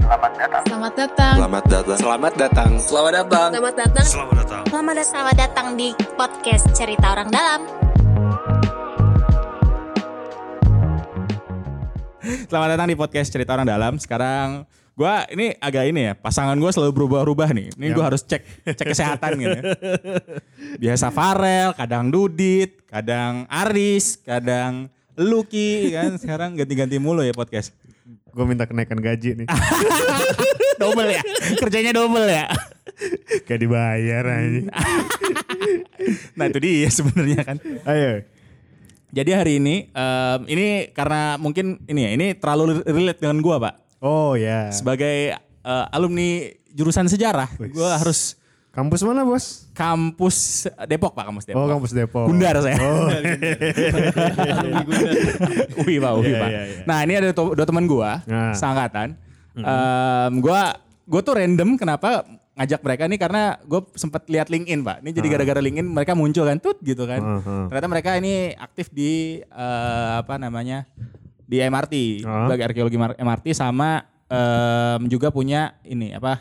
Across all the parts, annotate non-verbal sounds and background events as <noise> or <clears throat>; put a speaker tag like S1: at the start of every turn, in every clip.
S1: Selamat datang.
S2: Selamat datang.
S3: Selamat datang.
S4: Selamat datang.
S5: Selamat datang.
S6: Selamat datang.
S7: Selamat datang.
S6: Selamat datang. Selamat datang di podcast Cerita Orang Dalam.
S8: Selamat datang di podcast Cerita Orang Dalam. Sekarang gua ini agak ini ya, pasangan gua selalu berubah-ubah nih. Ini gua harus cek cek kesehatan gitu. ya. Biasa Farel, kadang Dudit, kadang Aris, kadang Lucky kan sekarang ganti-ganti mulu ya podcast.
S9: Gue minta kenaikan
S8: <laughs>
S9: gaji nih.
S8: Double ya. Kerjanya double ya.
S9: Kayak dibayar
S8: <laughs>
S9: aja.
S8: Nah, itu dia sebenarnya kan.
S9: Ayo.
S8: Jadi hari ini em, ini karena mungkin ini ya, ini terlalu relate dengan gua, Pak.
S9: Oh ya.
S8: Sebagai eh, alumni jurusan sejarah, gua harus
S9: Kampus mana bos?
S8: kampus Depok Pak, kampus Depok.
S9: Oh kampus Depok.
S8: Gundar saya.
S9: Oh.
S8: <laughs> Uwi Pak, Uwi
S9: Iya,
S8: Pak.
S9: iya, iya.
S8: Nah ini ada to- dua teman gua,
S9: Nah. Mm-hmm.
S8: seangkatan. Em, gua gua tuh random kenapa ngajak mereka nih karena gue sempat lihat LinkedIn Pak. Ini jadi
S9: Ah.
S8: gara-gara LinkedIn mereka muncul kan tut gitu kan.
S9: Heeh.
S8: Ternyata mereka ini aktif di eh, apa namanya? di
S9: Heeh.
S8: MRT, sebagai arkeologi mar- MRT sama em, juga punya ini apa?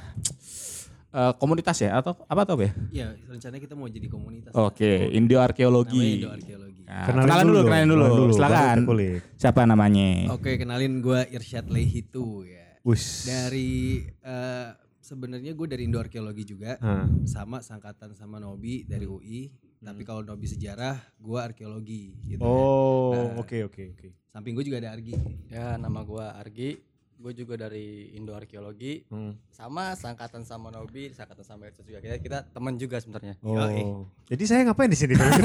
S8: eh, komunitas ya atau apa tau ya?
S5: Ya, rencananya kita mau jadi komunitas.
S8: Oke, Indo
S5: Namanya
S8: arkeologi.
S5: Indoarkeologi.
S8: Nah,
S9: Kenalin
S8: kenalan, dulu,
S9: dulu,
S8: kenalin dulu.
S9: kenalan dulu,
S8: Silakan.
S9: baru kita kulik.
S8: Siapa namanya?
S5: Oke, kenalin gue Irsyad Lehitu ya.
S9: Wus.
S5: Dari eh, sebenarnya gue dari Indoarkeologi juga.
S9: Ah.
S5: Sama sangkatan sama Nobi dari UI. Tapi kalau Nobi sejarah, gue arkeologi gitu ya.
S9: Oh oke oke oke.
S5: Samping gue juga ada Argi.
S10: Ya, nama gua Argi. Gue juga dari Indo Arkeologi.
S9: Hmm.
S10: Sama sangkatan sama Nobi, sangkatan sama Elsa juga. Kita, kita teman juga sebenarnya.
S9: Oh. Jadi saya ngapain di
S8: <laughs>
S9: sini?
S8: Ah,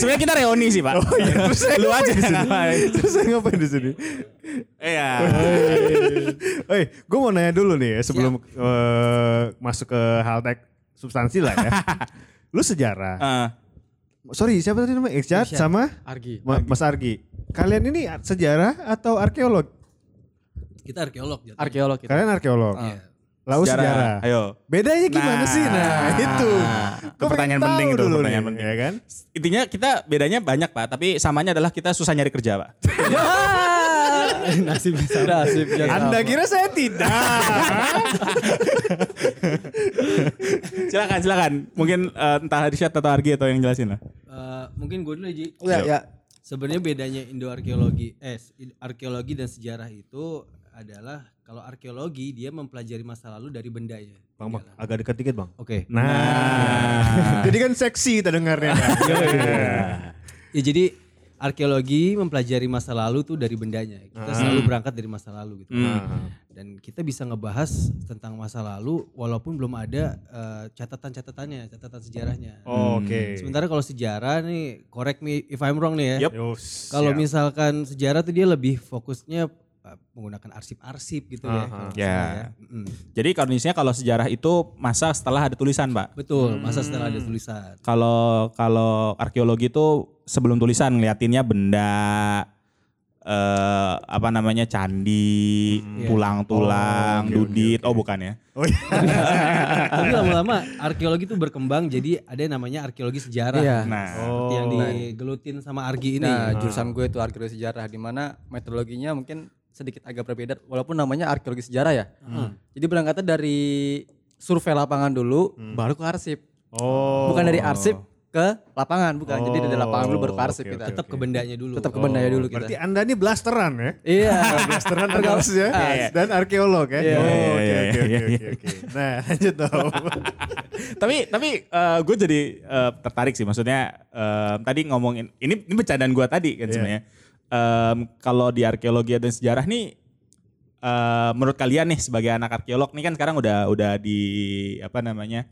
S8: Sebenarnya kita reuni sih, Pak. Oh iya, terus lu aja di sini.
S9: Terus saya ngapain di sini?
S8: <laughs> Iya.
S9: Eh, gue mau nanya dulu nih ya sebelum eh, masuk ke hal tek substansi lah
S8: <laughs>
S9: ya. Lu sejarah.
S8: Eh,
S9: Sorry, siapa tadi namanya? Iksat sama
S10: Argi.
S9: Ma- Mas Argi. Kalian ini ar- sejarah atau arkeolog?
S5: Kita arkeolog. jatuhnya.
S10: Arkeolog kita.
S9: Kalian arkeolog.
S5: Iya.
S9: Lalu sejarah.
S8: Ayo.
S9: Bedanya gimana
S8: Nah,
S9: sih? Nah, itu.
S8: itu
S9: Gua pengen
S8: pertanyaan
S9: tahu
S8: penting itu,
S9: dulu
S8: pertanyaan
S9: nih,
S8: penting.
S9: Ya kan?
S8: Intinya kita bedanya banyak, Pak, tapi samanya adalah kita susah nyari kerja, Pak. <laughs>
S10: Nasib bisa. Nasib bisa.
S9: Anda kira saya tidak?
S8: silakan, silakan. Mungkin eh, entah Arsyad atau Argi atau yang jelasin lah.
S5: Eh, mungkin gue dulu Ji.
S9: Iya.
S10: Ya, ya.
S5: Sebenarnya bedanya Indo-arkeologi, eh arkeologi dan sejarah itu adalah kalau arkeologi dia mempelajari masa lalu dari bendanya.
S9: <laughs> bang, bang,
S5: Iyalah.
S9: agak dekat dikit bang.
S5: Oke.
S9: Nah. Jadi kan seksi kita dengarnya. kan? <laughs>
S5: Ya jadi arkeologi mempelajari masa lalu tuh dari bendanya. Kita
S9: Ah.
S5: selalu berangkat dari masa lalu gitu.
S9: Hmm.
S5: Dan kita bisa ngebahas tentang masa lalu walaupun belum ada eh, catatan-catatannya, catatan sejarahnya.
S9: Oke.
S5: Sementara kalau sejarah nih, correct me if I'm wrong nih ya.
S8: Yup.
S9: Yos,
S5: Kalau
S9: siap.
S5: misalkan sejarah tuh dia lebih fokusnya uh, menggunakan arsip-arsip gitu ya.
S9: Aha.
S8: Ya.
S5: kalau misalnya ya. Mm.
S8: Jadi kondisinya kalau sejarah itu masa setelah ada tulisan, Pak.
S5: Betul, masa setelah ada tulisan.
S8: kalau kalau arkeologi itu sebelum tulisan ngeliatinnya benda eh apa namanya candi,
S9: Oh,
S8: tulang-tulang,
S9: oke, oke,
S8: dudit. Hmm, iya. Oh, bukan ya.
S9: Oh, iya.
S5: Tapi lama-lama arkeologi tuh berkembang jadi ada yang namanya arkeologi sejarah.
S10: Iya.
S8: Nah,
S5: Seperti yang digelutin sama Argi ini.
S10: Nah, jurusan gue itu arkeologi sejarah di mana metodologinya mungkin sedikit agak berbeda walaupun namanya arkeologi sejarah ya.
S9: Hmm.
S10: Jadi berangkatnya dari survei lapangan dulu baru ke arsip.
S9: Hmm. Oh.
S10: Bukan dari arsip ke lapangan, bukan. Jadi dari lapangan dulu baru ke
S9: Oh,
S10: arsip
S9: oke, oke,
S10: kita.
S9: Oh,
S10: Tetap
S5: tetap ke bendanya dulu.
S10: tetap ke bendanya dulu kita.
S9: Berarti Anda ini blasteran ya? <laughs>
S10: Iya.
S9: Blasteran harus ya dan arkeolog ya. Oh, Oke
S8: Iya,
S9: oke
S8: iya,
S9: oke
S8: iya,
S9: oke oke. Nah, lanjut
S8: <laughs>
S9: dong.
S8: tapi tapi gue jadi eh, tertarik sih maksudnya eh, tadi ngomongin ini ini bercandaan gue tadi kan
S9: Iya.
S8: sebenarnya. Em, kalau di arkeologi dan sejarah nih eh, menurut kalian nih sebagai anak arkeolog nih kan sekarang udah udah di apa namanya?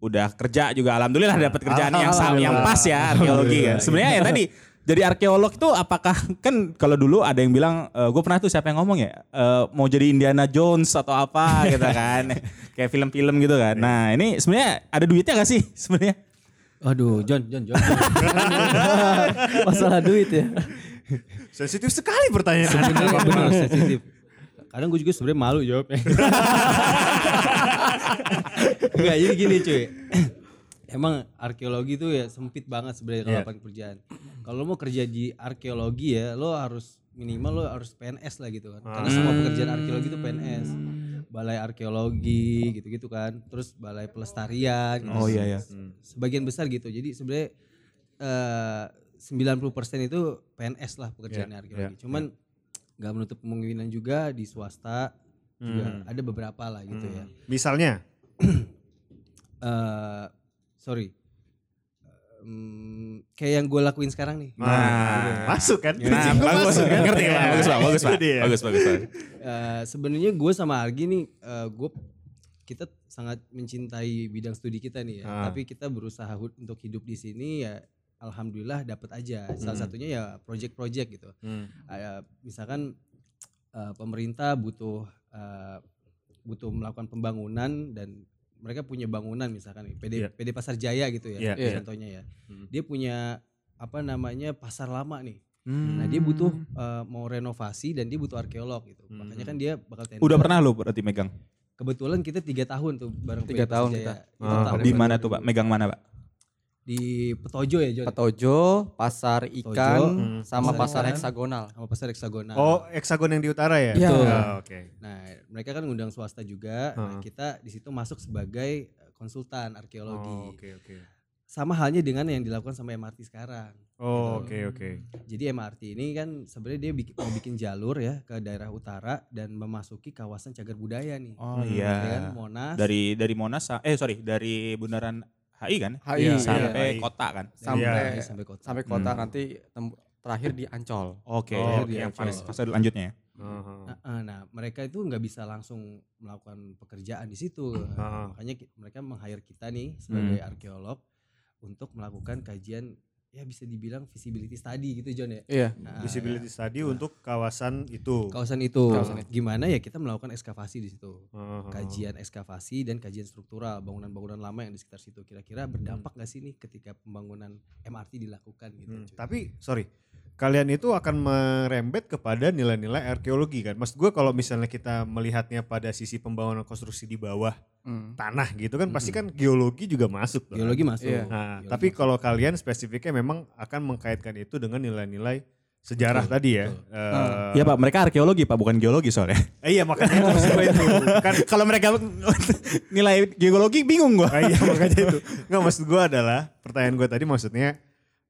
S8: udah kerja juga alhamdulillah dapat kerjaan yang sam- yang
S9: Alhamdulillah.
S8: pas ya arkeologi kan. Sebenarnya ya tadi jadi arkeolog itu apakah kan kalau dulu ada yang bilang gue pernah tuh siapa yang ngomong ya eh, mau jadi Indiana Jones atau apa
S9: <laughs>
S8: gitu kan kayak film-film gitu kan. Nah ini sebenarnya ada duitnya gak sih sebenarnya?
S5: Aduh, John, John, <laughs> John.
S10: Masalah duit ya.
S9: Sensitif sekali
S8: Iya.
S9: pertanyaan. Anda.
S5: Bener, bener, sensitif. Kadang gue juga sebenarnya malu jawabnya. Enggak, jadi gini cuy. Emang arkeologi itu ya sempit banget sebenarnya kalau
S9: Iya.
S5: lapangan kerjaan. Kalau lo mau kerja di arkeologi ya, lo harus minimal lo harus PNS lah gitu kan. Karena semua pekerjaan arkeologi itu PNS. balai arkeologi gitu-gitu kan, terus balai pelestarian. gitu.
S8: Oh iya ya.
S5: Sebagian besar gitu. Jadi sebenarnya eh, 90% itu PNS lah pekerjaan arkeologi. Cuman nggak menutup kemungkinan juga di swasta juga ada beberapa lah gitu ya.
S9: Hmm. Misalnya,
S5: Eh sorry. Em, kayak yang gue lakuin sekarang nih.
S9: nah, masuk kan?
S8: Nah,
S9: Disinggung
S8: bagus,
S9: masuk ya. kan?
S8: ngerti Pak. Bagus, Pak. Bagus, Pak.
S9: Itu dia.
S8: Bagus, bagus, Pak.
S5: Eh, sebenarnya gue sama Argi nih eh, gue kita sangat mencintai bidang studi kita nih ya
S9: Ah.
S5: tapi kita berusaha hu- untuk hidup di sini ya alhamdulillah dapat aja salah satunya ya project-project gitu
S9: Hmm.
S5: Eh, misalkan eh, pemerintah butuh eh, butuh melakukan pembangunan dan mereka punya bangunan misalkan nih, PD
S9: Iya.
S5: PD Pasar Jaya gitu
S9: Iya,
S5: ya
S10: iya.
S5: contohnya ya
S9: Hmm.
S5: dia punya apa namanya pasar lama nih
S9: Hmm.
S5: Nah dia butuh uh, mau renovasi dan dia butuh arkeolog gitu. Makanya kan dia bakal tender.
S8: Udah pernah lu berarti megang?
S5: Kebetulan kita tiga tahun tuh bareng
S10: Tiga
S5: PU
S10: tahun
S5: Persijaya. Tiga
S9: Ah,
S5: tahun.
S8: Di mana tuh, Pak? Megang mana, Pak?
S5: Di Petojo ya John.
S10: Patojo, pasar ikan,
S5: Hmm. Pasar
S10: sama pasar
S5: ikan.
S10: heksagonal.
S5: Sama pasar heksagonal.
S9: Oh, heksagon yang di utara ya?
S10: Iya.
S9: Oh, Oke.
S5: Nah mereka kan ngundang swasta juga. Nah,
S9: Heeh.
S5: kita di situ masuk sebagai uh, konsultan arkeologi.
S9: Oh, Oke, oke.
S5: Sama halnya dengan yang dilakukan sama MRT sekarang.
S9: Oh, oke, oke.
S5: Jadi MRT ini kan sebenarnya dia bikin, mau bikin jalur ya ke daerah utara dan memasuki kawasan cagar budaya nih.
S8: Oh
S9: iya.
S5: Ya kan, Monas.
S8: Dari dari Monas sa- eh sorry, dari Bundaran HI kan?
S10: HI,
S9: Iya,
S8: sampai
S9: iya.
S8: kota kan?
S10: sampai
S5: Iya, sampai kota.
S10: sampai kota
S8: Hmm.
S10: nanti tem- terakhir di Ancol.
S8: Oke,
S9: Oh, Uh-huh.
S8: oke,
S5: iya,
S8: yang
S5: iya.
S8: fase fase lanjutnya ya.
S9: Aha.
S5: Nah, eh, nah, mereka itu nggak bisa langsung melakukan pekerjaan di situ.
S9: Ah.
S5: Makanya ki- mereka meng-hire kita nih
S9: Hmm.
S5: sebagai arkeolog untuk melakukan kajian ya bisa dibilang visibility study gitu John ya.
S10: Iya.
S5: Nah,
S9: Visibility study untuk kawasan Gitu. itu. Hmm.
S5: kawasan itu.
S10: Kawasan
S5: Gimana ya kita melakukan ekskavasi di situ.
S9: Aha.
S5: Kajian ekskavasi dan kajian struktural bangunan-bangunan lama yang di sekitar situ kira-kira
S9: Hmm.
S5: berdampak nggak sih nih ketika pembangunan MRT dilakukan gitu.
S9: Hmm,
S5: cuy.
S9: Tapi sorry, kalian itu akan merembet kepada nilai-nilai arkeologi kan? Maksud gue kalau misalnya kita melihatnya pada sisi pembangunan konstruksi di bawah
S10: Hmm.
S9: tanah gitu kan, pasti kan geologi juga masuk. kan?
S5: Hmm. Geologi masuk.
S10: Iya.
S9: Nah,
S5: Geologi
S9: tapi
S5: masuk.
S9: kalau kalian spesifiknya memang akan mengkaitkan itu dengan nilai-nilai sejarah
S5: Betul,
S9: tadi ya.
S5: betul.
S9: Eh,
S8: Iya Pak, mereka arkeologi Pak, bukan geologi soalnya.
S9: eh, iya makanya maksud gue itu <laughs> kan
S8: Kalau mereka <laughs> nilai geologi bingung gua.
S9: Ah, iya <laughs> makanya itu. Enggak maksud gue adalah pertanyaan gue tadi maksudnya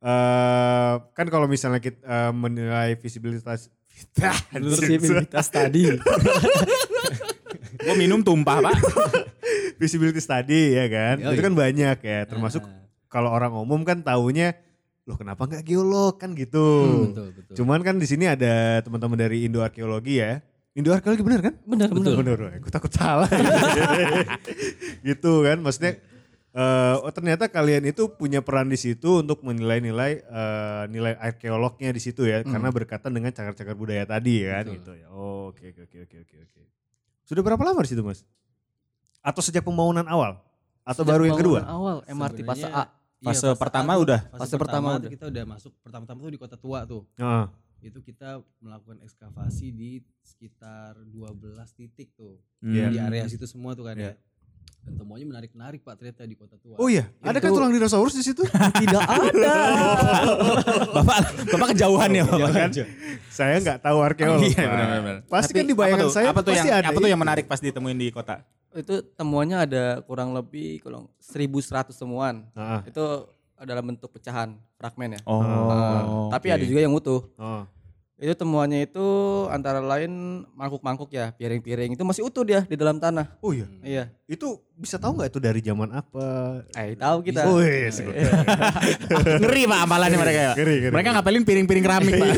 S9: eh kan kalau misalnya kita eh, menilai visibilitas <laughs>
S10: <laughs> Visibilitas tadi.
S8: <laughs> Gua minum tumpah, Pak.
S9: Iya, visibility study ya kan
S5: Yoi.
S9: itu kan banyak ya termasuk
S5: Ah,
S9: kalau orang umum kan taunya loh kenapa nggak geolog kan gitu
S5: Hmm, betul, betul.
S9: cuman kan di sini ada teman-teman dari Indo arkeologi ya Indo arkeologi bener kan
S10: Benar,
S9: bener bener aku takut salah gitu kan maksudnya eh, oh ternyata kalian itu punya peran di situ untuk menilai-nilai eh, nilai arkeolognya di situ ya karena berkaitan dengan cagar-cagar budaya tadi ya kan
S5: Betul.
S9: gitu ya Oh, oke oke oke oke oke oke sudah berapa lama di situ mas atau sejak pembangunan awal atau baru yang kedua
S10: Awal MRT fase
S5: Sebenarnya-
S10: A.
S5: Iya,
S8: Fase pertama <laughs>
S5: tuh-
S8: udah?
S5: Fase,
S10: Fase
S5: pertama,
S10: pertama
S5: tuh
S10: udah.
S5: kita udah masuk pertama-tama tuh di kota tua tuh.
S9: Ah,
S5: Itu kita melakukan ekskavasi di sekitar 12 titik tuh.
S9: Iya.
S5: Di
S8: Hmm.
S5: area situ semua tuh kan
S9: Iya.
S5: ya. Dan temuannya menarik-menarik Pak ternyata di kota tua.
S9: oh iya ada kan tulang dinosaurus di situ
S10: Tidak ada.
S8: <laughs> Bapak Bapak kejauhan ya, Bapak.
S9: kan saya nggak tahu arkeolog
S8: Iya,
S9: Pak.
S8: benar-benar.
S9: pasti kan di
S8: Apa
S9: bayangan
S8: tuh,
S9: saya
S8: apa tuh
S9: pasti
S8: yang
S9: ada
S8: apa tuh yang
S9: itu.
S8: menarik pas ditemuin di kota?
S10: itu temuannya ada kurang lebih kalau 1100 temuan.
S9: Ah,
S10: Itu dalam bentuk pecahan fragmen ya.
S8: Oh.
S10: Nah, tapi ada juga yang utuh.
S9: ah.
S10: Itu temuannya itu antara lain mangkuk-mangkuk ya, piring-piring itu masih utuh dia di dalam tanah.
S9: oh iya
S10: Iya.
S9: itu bisa tahu nggak itu dari zaman apa?
S10: Eh, tahu kita.
S9: Oh iya, iya, iya.
S8: Ngeri Pak amalannya mereka ya.
S9: Ngeri, ngeri.
S8: Mereka ngapelin piring-piring keramik, Pak.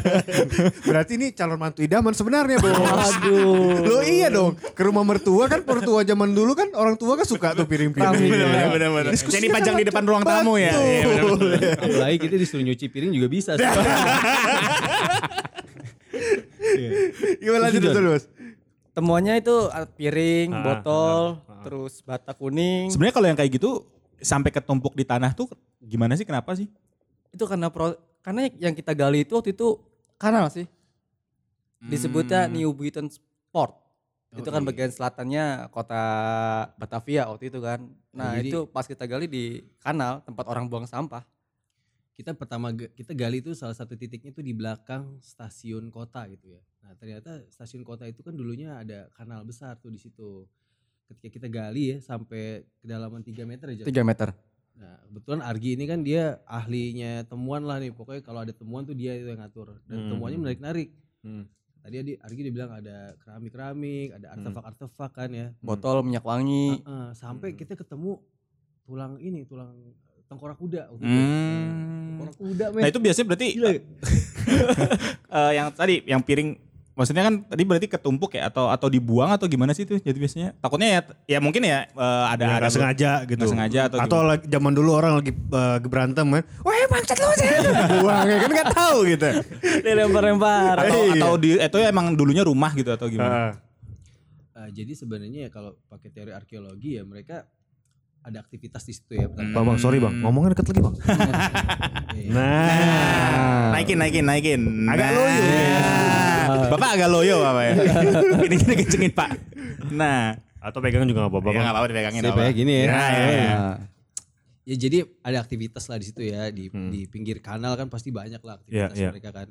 S9: <laughs> Berarti ini calon mantu idaman sebenarnya, Bos.
S10: Aduh.
S9: Lo iya dong, ke rumah mertua kan mertua zaman dulu kan orang tua kan suka tuh piring-piring. Iya.
S8: Benar, benar, benar. Jadi pajang di depan ruang tamu ya. Iya, benar, benar.
S5: Apalagi kita disuruh nyuci piring juga bisa. sih.
S9: <laughs> Gimana lanjut dulu, Bos?
S10: Temuannya itu ah, piring,
S9: Ah,
S10: botol, terus bata kuning.
S8: Sebenarnya kalau yang kayak gitu sampai ketumpuk di tanah tuh gimana sih? Kenapa sih?
S10: itu karena pro, karena yang kita gali itu waktu itu kanal sih. Hmm. Disebutnya New Britain Port. itu kan bagian selatannya kota Batavia waktu itu kan. Nah,
S5: Jadi-
S10: itu pas kita gali di kanal tempat orang buang sampah.
S5: kita pertama ga- kita gali itu salah satu titiknya itu di belakang stasiun kota gitu ya. Nah ternyata stasiun kota itu kan dulunya ada kanal besar tuh di situ. Ketika kita gali ya sampai kedalaman 3 meter aja.
S10: 3 meter.
S5: Nah, kebetulan Argi ini kan dia ahlinya temuan lah nih. Pokoknya kalau ada temuan tuh dia itu yang ngatur. Dan
S9: Hmm.
S5: temuannya menarik-narik.
S9: Hmm.
S5: Tadi Adi, Argi dia bilang ada keramik-keramik, ada artefak-artefak kan ya.
S10: Botol minyak wangi.
S5: Heeh, sampai
S9: Hmm.
S5: kita ketemu tulang ini, tulang tengkorak kuda. waktu itu.
S8: Hmm.
S5: Tengkorak kuda, men.
S8: Nah itu biasanya berarti
S5: Iya,
S8: Eh, yang tadi yang piring maksudnya kan tadi berarti ketumpuk ya atau atau dibuang atau gimana sih itu jadi biasanya takutnya ya ya mungkin ya eh, ada
S9: Ya,
S8: ada
S9: nggak sengaja gitu.
S8: Nggak sengaja atau
S9: atau lagi, zaman dulu orang lagi eh, berantem kan. Wah bangsat lu sih. Buang ya kan nggak tahu gitu.
S10: Ah. <laughs> Dilempar-lempar.
S8: atau,
S9: Iya.
S8: atau di itu emang dulunya rumah gitu atau gimana?
S9: Heeh.
S5: Eh, jadi sebenarnya ya kalau pakai teori arkeologi ya mereka ada aktivitas di situ ya.
S8: Hmm.
S5: pertama.
S9: bang bang sorry bang. Ngomongnya deket lagi bang.
S5: Iya.
S9: Nah.
S8: Naikin, naikin, naikin.
S9: Ah. Agak loyo. ya.
S8: Nah. Bapak agak loyo bapak
S9: <laughs>
S8: ya. Ini kita kencengin pak. Nah,
S9: Atau pegangan juga nggak apa-apa
S8: ya
S9: bang.
S8: nggak apa-apa dipegangin.
S5: Saya
S8: nggak apa-apa.
S5: kayak gini ya.
S8: Ya, ya, ya.
S5: Ya jadi ada aktivitas lah di situ ya di di pinggir kanal kan pasti banyak lah
S9: Hmm.
S5: aktivitas
S9: Iya, iya.
S5: mereka kan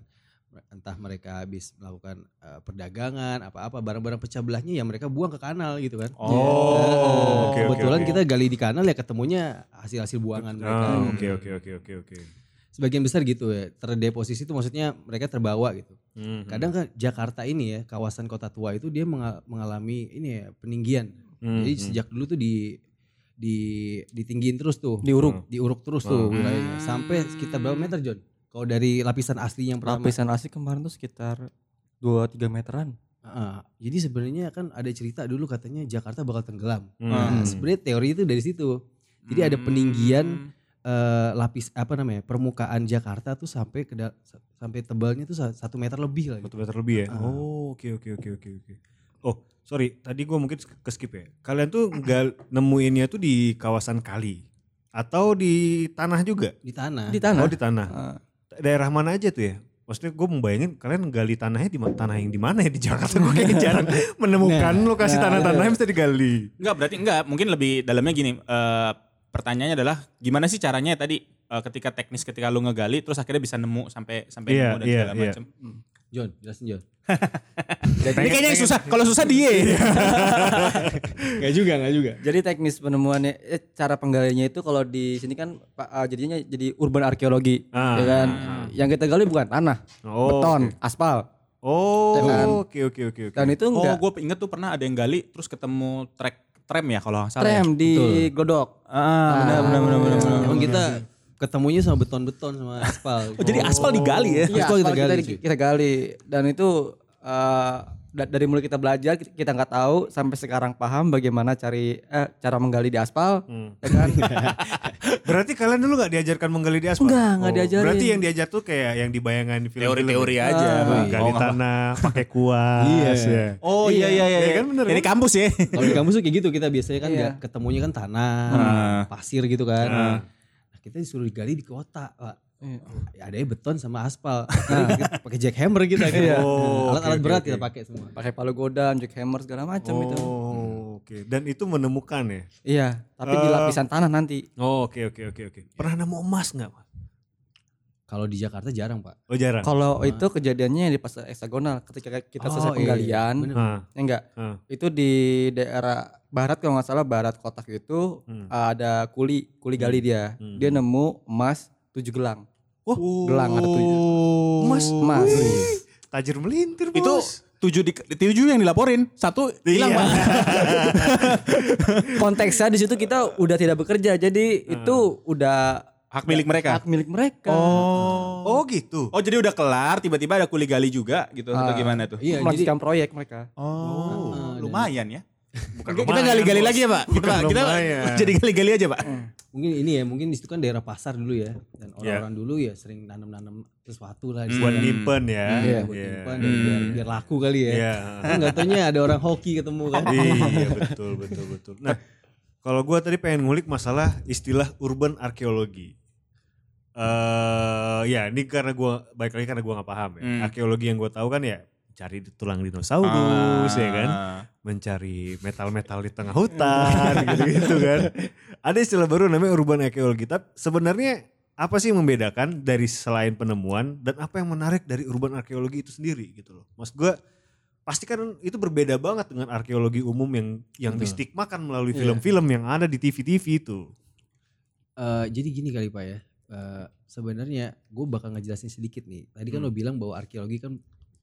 S5: entah mereka habis melakukan eh, perdagangan apa-apa barang-barang pecah belahnya ya mereka buang ke kanal gitu
S10: Iya.
S5: kan.
S9: Oh, oke, oke,
S5: kebetulan
S9: oke.
S5: kita gali di kanal ya ketemunya hasil-hasil buangan mereka.
S9: Ah, Oke oke oke oke oke.
S5: Sebagian besar gitu ya terdeposisi itu maksudnya mereka terbawa gitu.
S9: Hmm,
S5: Kadang kan Jakarta ini ya kawasan kota tua itu dia menga- mengalami ini ya peninggian.
S9: Hmm,
S5: Jadi
S9: hmm.
S5: sejak dulu tuh di di ditinggiin terus tuh.
S10: Diuruk.
S5: Diuruk terus tuh wilayahnya. Sampai sekitar berapa meter John? Kalau dari lapisan asli yang pertama.
S10: Lapisan asli kemarin tuh sekitar 2-3 meteran.
S5: Heeh. jadi sebenarnya kan ada cerita dulu katanya Jakarta bakal tenggelam.
S9: Hmm.
S5: Nah, sebenarnya teori itu dari situ.
S10: Hmm.
S5: Jadi ada peninggian eh, lapis apa namanya permukaan Jakarta tuh sampai ke da- sampai tebalnya tuh sa- satu meter lebih lah. gitu.
S9: Satu meter lebih ya.
S5: Ah.
S9: Oh, oke oke oke oke oke. Oh, sorry, tadi gua mungkin keskip ya. Kalian tuh nggak nemuinnya tuh di kawasan kali atau di tanah juga?
S5: Di tanah.
S10: Di tanah.
S9: Oh, di tanah.
S10: Ah.
S9: Daerah mana aja tuh ya? Maksudnya gue membayangin kalian gali tanahnya di mana tanah yang di mana ya di Jakarta gue kayak
S5: <laughs>
S9: jarang menemukan
S5: Nah,
S9: lokasi tanah-tanah yang bisa digali.
S8: Enggak Iya. berarti enggak, mungkin lebih dalamnya gini. eh, pertanyaannya adalah gimana sih caranya tadi eh, ketika teknis ketika lu ngegali terus akhirnya bisa nemu sampai sampai
S9: Iya,
S8: nemu dan
S9: iya,
S8: segala
S9: iya.
S8: macam.
S5: John, jelasin John.
S8: Ini kayaknya yang susah. Kalau susah dia.
S9: Iya.
S5: Gak juga, gak juga.
S10: Jadi teknis penemuannya, eh, cara penggaliannya itu kalau di sini kan Pak, ah, jadinya jadi urban arkeologi,
S9: Ah.
S10: ya kan? Yang kita gali bukan tanah,
S9: Oh,
S10: beton, aspal. Ya kan?
S9: Oh, oke oke oke oke.
S10: Dan itu
S8: <laughs> Oh,
S10: enggak
S8: gue inget tuh pernah ada yang gali terus ketemu trek tram ya kalau nggak salah. ya.
S10: trem di godok. iya,
S8: Ah, benar benar benar benar. benar.
S5: Iya, Emang kita ketemunya sama beton-beton sama aspal.
S8: Oh, jadi aspal digali ya.
S10: Iya,
S5: Aspal kita
S10: aspal kita,
S5: gali,
S10: di-
S5: cuy.
S10: kita gali. Dan itu eh, da- dari mulai kita belajar kita- kita nggak tahu sampai sekarang paham bagaimana cari eh, cara menggali di aspal,
S8: Hmm.
S10: ya
S8: <laughs>
S10: kan?
S9: Berarti kalian dulu nggak diajarkan menggali di aspal?
S10: Enggak, nggak
S9: Oh,
S10: diajarin.
S9: Berarti yang diajar tuh kayak yang dibayangkan di film.
S8: Teori-teori aja. Bang.
S9: Ah, gali
S8: Oh, nggak apa-
S9: tanah, pakai kuas. ya.
S8: Oh iya iya iya.
S9: Iya kan, bener
S8: Ini
S9: kan?
S8: kampus ya.
S5: Kalau di kampus tuh kayak gitu kita biasanya kan
S10: Iya.
S5: nggak ketemunya kan tanah, pasir gitu kan. Nah, kita disuruh digali di kota, Pak.
S10: Iya.
S5: Ya, adanya beton sama aspal. Akhirnya <laughs> kita pakai jackhammer kita gitu.
S9: Nah. Oh,
S5: Alat-alat
S9: oke,
S5: berat
S9: oke,
S5: kita
S9: oke.
S5: pakai semua.
S10: Pakai palu godam, jackhammer segala macam
S9: Oh,
S10: itu.
S9: oke. Dan itu menemukan ya.
S10: Iya, tapi
S9: Eh.
S10: di lapisan tanah nanti.
S9: Oh, oke oke oke oke. Pernah nemu emas nggak, Pak?
S5: Kalau di Jakarta jarang, Pak.
S9: Oh, jarang.
S10: Kalau itu kejadiannya di pasar heksagonal ketika kita selesai
S5: Oh, iya,
S10: penggalian,
S5: bener.
S9: Ah,
S10: ya enggak.
S9: ah.
S10: Itu di daerah barat kalau nggak salah barat kotak itu
S9: Hmm.
S10: ada kuli kuli gali dia.
S9: Hmm.
S10: Dia nemu emas tujuh gelang.
S9: Wah,
S10: gelang ada tujuh.
S9: Emas,
S10: Emas.
S9: Wih, Tajir melintir, Bos.
S8: Itu tujuh di, tujuh yang dilaporin, satu hilang
S9: Iya.
S8: pak.
S10: Konteksnya di situ kita udah tidak bekerja, jadi itu udah
S8: Hak milik mereka?
S10: Hak milik mereka.
S8: Oh.
S9: Oh, gitu.
S8: Oh jadi udah kelar, tiba-tiba ada kuli gali juga gitu atau
S10: Ah.
S8: gimana tuh?
S5: Iya, jadi
S10: Melanjutkan proyek mereka.
S8: Oh, lumayan ya.
S9: Bukan
S8: Kita
S9: lumayan,
S8: gali-gali
S9: Bos.
S8: lagi ya Ah. pak. Kita,
S9: Bukan
S8: kita
S9: lumayan.
S8: jadi gali-gali aja pak.
S5: mungkin ini ya, mungkin di situ kan daerah pasar dulu ya. Dan orang-orang dulu ya sering nanam-nanam sesuatu lah.
S9: Iya.
S5: di
S9: buat
S5: situ.
S9: nyimpen ya.
S8: Hmm.
S5: Iya, buat nyimpan dan biar, biar laku kali ya.
S9: Iya.
S5: Kan nggak taunya ada orang hoki ketemu kan.
S9: iya betul betul betul. Nah kalau gue tadi pengen ngulik masalah istilah urban arkeologi. eh ya ini karena gue baik lagi karena gue nggak paham ya.
S8: Hmm.
S9: Arkeologi yang gue tahu kan ya cari tulang
S8: Oh,
S9: dinosaurus ya kan,
S8: Ah.
S9: mencari metal-metal di <laughs> tengah hutan gitu-gitu kan. Ada istilah baru namanya urban arkeologi. Tapi sebenarnya apa sih yang membedakan dari selain penemuan dan apa yang menarik dari urban arkeologi itu sendiri gitu loh. Mas gue pasti kan itu berbeda banget dengan arkeologi umum yang yang distigmakan melalui
S10: Iya.
S9: film-film yang ada di TV-TV itu.
S5: Eh, jadi gini kali Pak ya. Eh, sebenarnya gue bakal ngejelasin sedikit nih. Tadi
S9: Hmm.
S5: kan lo bilang bahwa arkeologi kan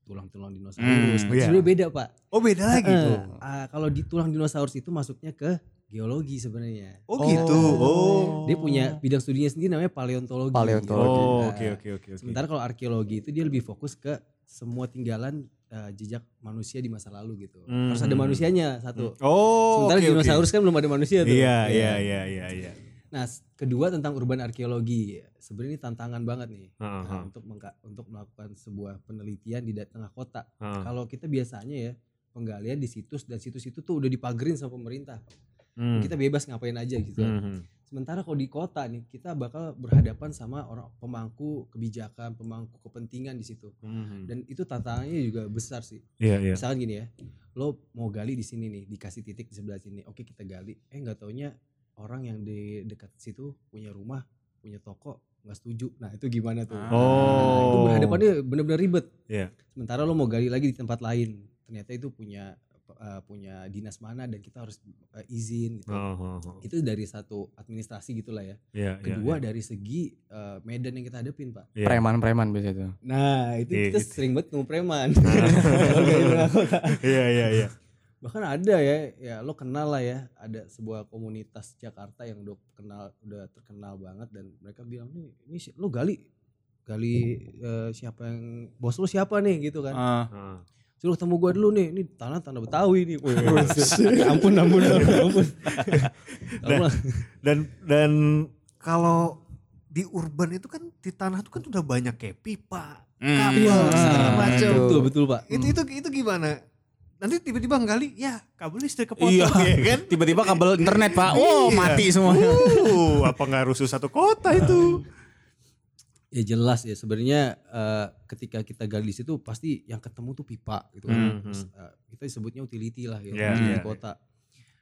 S5: tulang-tulang dinosaurus.
S8: Hmm,
S5: Nah,
S9: iya.
S5: Sebenarnya beda Pak.
S9: Oh beda lagi
S5: Eh,
S9: tuh.
S5: ah, kalau di tulang dinosaurus itu masuknya ke geologi sebenarnya.
S9: Oh gitu. Oh.
S5: Dia punya bidang studinya sendiri namanya paleontologi.
S10: Paleontologi.
S9: Oh
S5: Nah,
S9: oke oke oke. oke.
S5: Sementara kalau arkeologi itu dia lebih fokus ke semua tinggalan eh, jejak manusia di masa lalu gitu.
S9: Hmm.
S5: Harus ada manusianya satu.
S9: Oh.
S5: Sementara
S9: oke, oke.
S5: dinosaurus kan belum ada manusia tuh.
S9: Iya
S5: Ya.
S9: iya iya iya iya.
S5: Nah, s- kedua tentang urban arkeologi. Sebenarnya ini tantangan banget nih
S9: Heeh,
S5: nah, untuk mengka- untuk melakukan sebuah penelitian di da- tengah kota.
S9: heeh.
S5: Kalau kita biasanya ya penggalian di situs dan situs itu tuh udah dipagerin sama pemerintah.
S9: Hmm.
S5: Kita bebas ngapain aja gitu.
S9: Mhm.
S5: Sementara kalau di kota nih kita bakal berhadapan sama orang pemangku kebijakan, pemangku kepentingan di situ.
S9: Mhm.
S5: Dan itu tantangannya juga besar sih.
S9: Iya iya.
S5: Misalkan gini ya, lo mau gali di sini nih, dikasih titik di sebelah sini. Oke kita gali. Eh nggak taunya orang yang di dekat situ punya rumah, punya toko, nggak setuju. Nah itu gimana tuh?
S8: Ah.
S5: Nah, itu
S9: Oh.
S5: berhadapannya benar-benar ribet.
S9: Iya.
S5: Sementara lo mau gali lagi di tempat lain, ternyata itu punya eh, punya dinas mana dan kita harus eh, izin gitu.
S9: Oh, oh, oh.
S5: Itu dari satu administrasi gitulah ya.
S9: Iya, iya,
S5: Kedua
S9: iya.
S5: dari segi eh, medan yang kita hadapin pak.
S9: Iya. <laughs>
S10: Preman-preman biasanya itu.
S5: Nah itu
S9: Iya,
S5: kita
S9: gitu. Ah.
S5: sering banget nemu preman. <laughs> Kalau gitu, gali tengah kota.
S9: Iya iya iya.
S5: bahkan ada ya ya lo kenal lah ya ada sebuah komunitas Jakarta yang udah kenal udah terkenal banget dan mereka bilang nih ini si- lo gali gali eh, siapa yang bos lo siapa nih gitu kan
S8: Ah.
S9: Heeh.
S5: suruh ketemu gue dulu nih ini tanah tanah betawi nih Wih, ampun ampun ampun ampun Nah. Ampun lah.
S9: Dan dan kalau di urban itu kan di tanah itu kan udah banyak kayak pipa,
S8: Hmm.
S9: kabel, segala
S5: Ah,
S9: macam.
S5: betul betul pak
S9: Itu itu itu gimana? Nanti tiba-tiba nggali, ya kabel listrik kepotong
S8: Iya.
S9: <laughs> ya kan?
S8: Tiba-tiba kabel internet pak. Oh
S9: Iya.
S8: mati semuanya.
S9: Uh, apa nggak rusuh satu kota itu?
S5: ya jelas ya sebenarnya eh, ketika kita gali di situ pasti yang ketemu tuh pipa gitu
S9: Mhm.
S5: kan. Terus, eh, kita disebutnya utility lah ya
S9: Iya,
S5: utility
S9: iya.
S5: kota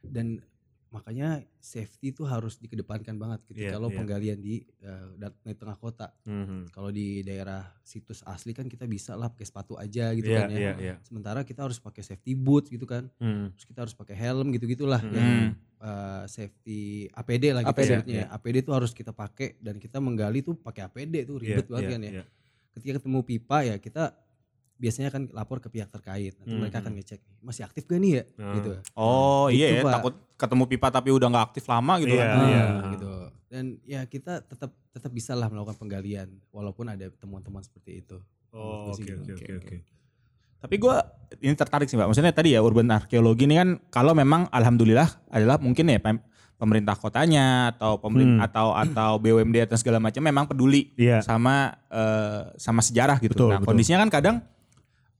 S5: dan makanya safety itu harus dikedepankan banget ketika
S9: Iya,
S5: lo
S9: iya.
S5: penggalian di eh, dat- di tengah kota kalau di daerah situs asli kan kita bisa lah pakai sepatu aja gitu
S9: Iya,
S5: kan ya
S9: iya, iya.
S5: sementara kita harus pakai safety boots gitu kan terus kita harus pakai helm gitu gitulah ya.
S8: Hmm.
S5: Eh, safety APD lah gitu
S10: APD,
S5: sebutnya
S9: iya.
S5: ya. APD itu harus kita pakai dan kita menggali tuh pakai APD tuh
S9: Iya,
S5: ribet banget kan ya ketika ketemu pipa ya kita biasanya kan lapor ke pihak terkait nanti
S9: Mhm.
S5: mereka akan ngecek nih, masih aktif gak nih ya
S9: Hmm.
S5: gitu
S8: Oh
S5: Gitu,
S8: iya ya,
S5: Pak.
S8: takut ketemu pipa tapi udah nggak aktif lama gitu
S9: Iya.
S8: kan.
S5: Ah,
S9: iya.
S5: gitu dan ya kita tetap tetap bisa lah melakukan penggalian walaupun ada temuan-temuan seperti itu
S9: Oh,
S5: Menurut gue sih
S9: oke
S5: gitu.
S9: oke oke oke.
S8: Tapi gua ini tertarik sih Pak. Maksudnya tadi ya urban arkeologi ini kan kalau memang alhamdulillah adalah mungkin ya pem- pemerintah kotanya atau pemerintah
S9: Hmm.
S8: atau atau BUMD atau segala macam memang peduli
S9: Iya.
S8: sama eh, sama sejarah gitu.
S9: Betul,
S8: nah,
S9: betul.
S8: kondisinya kan kadang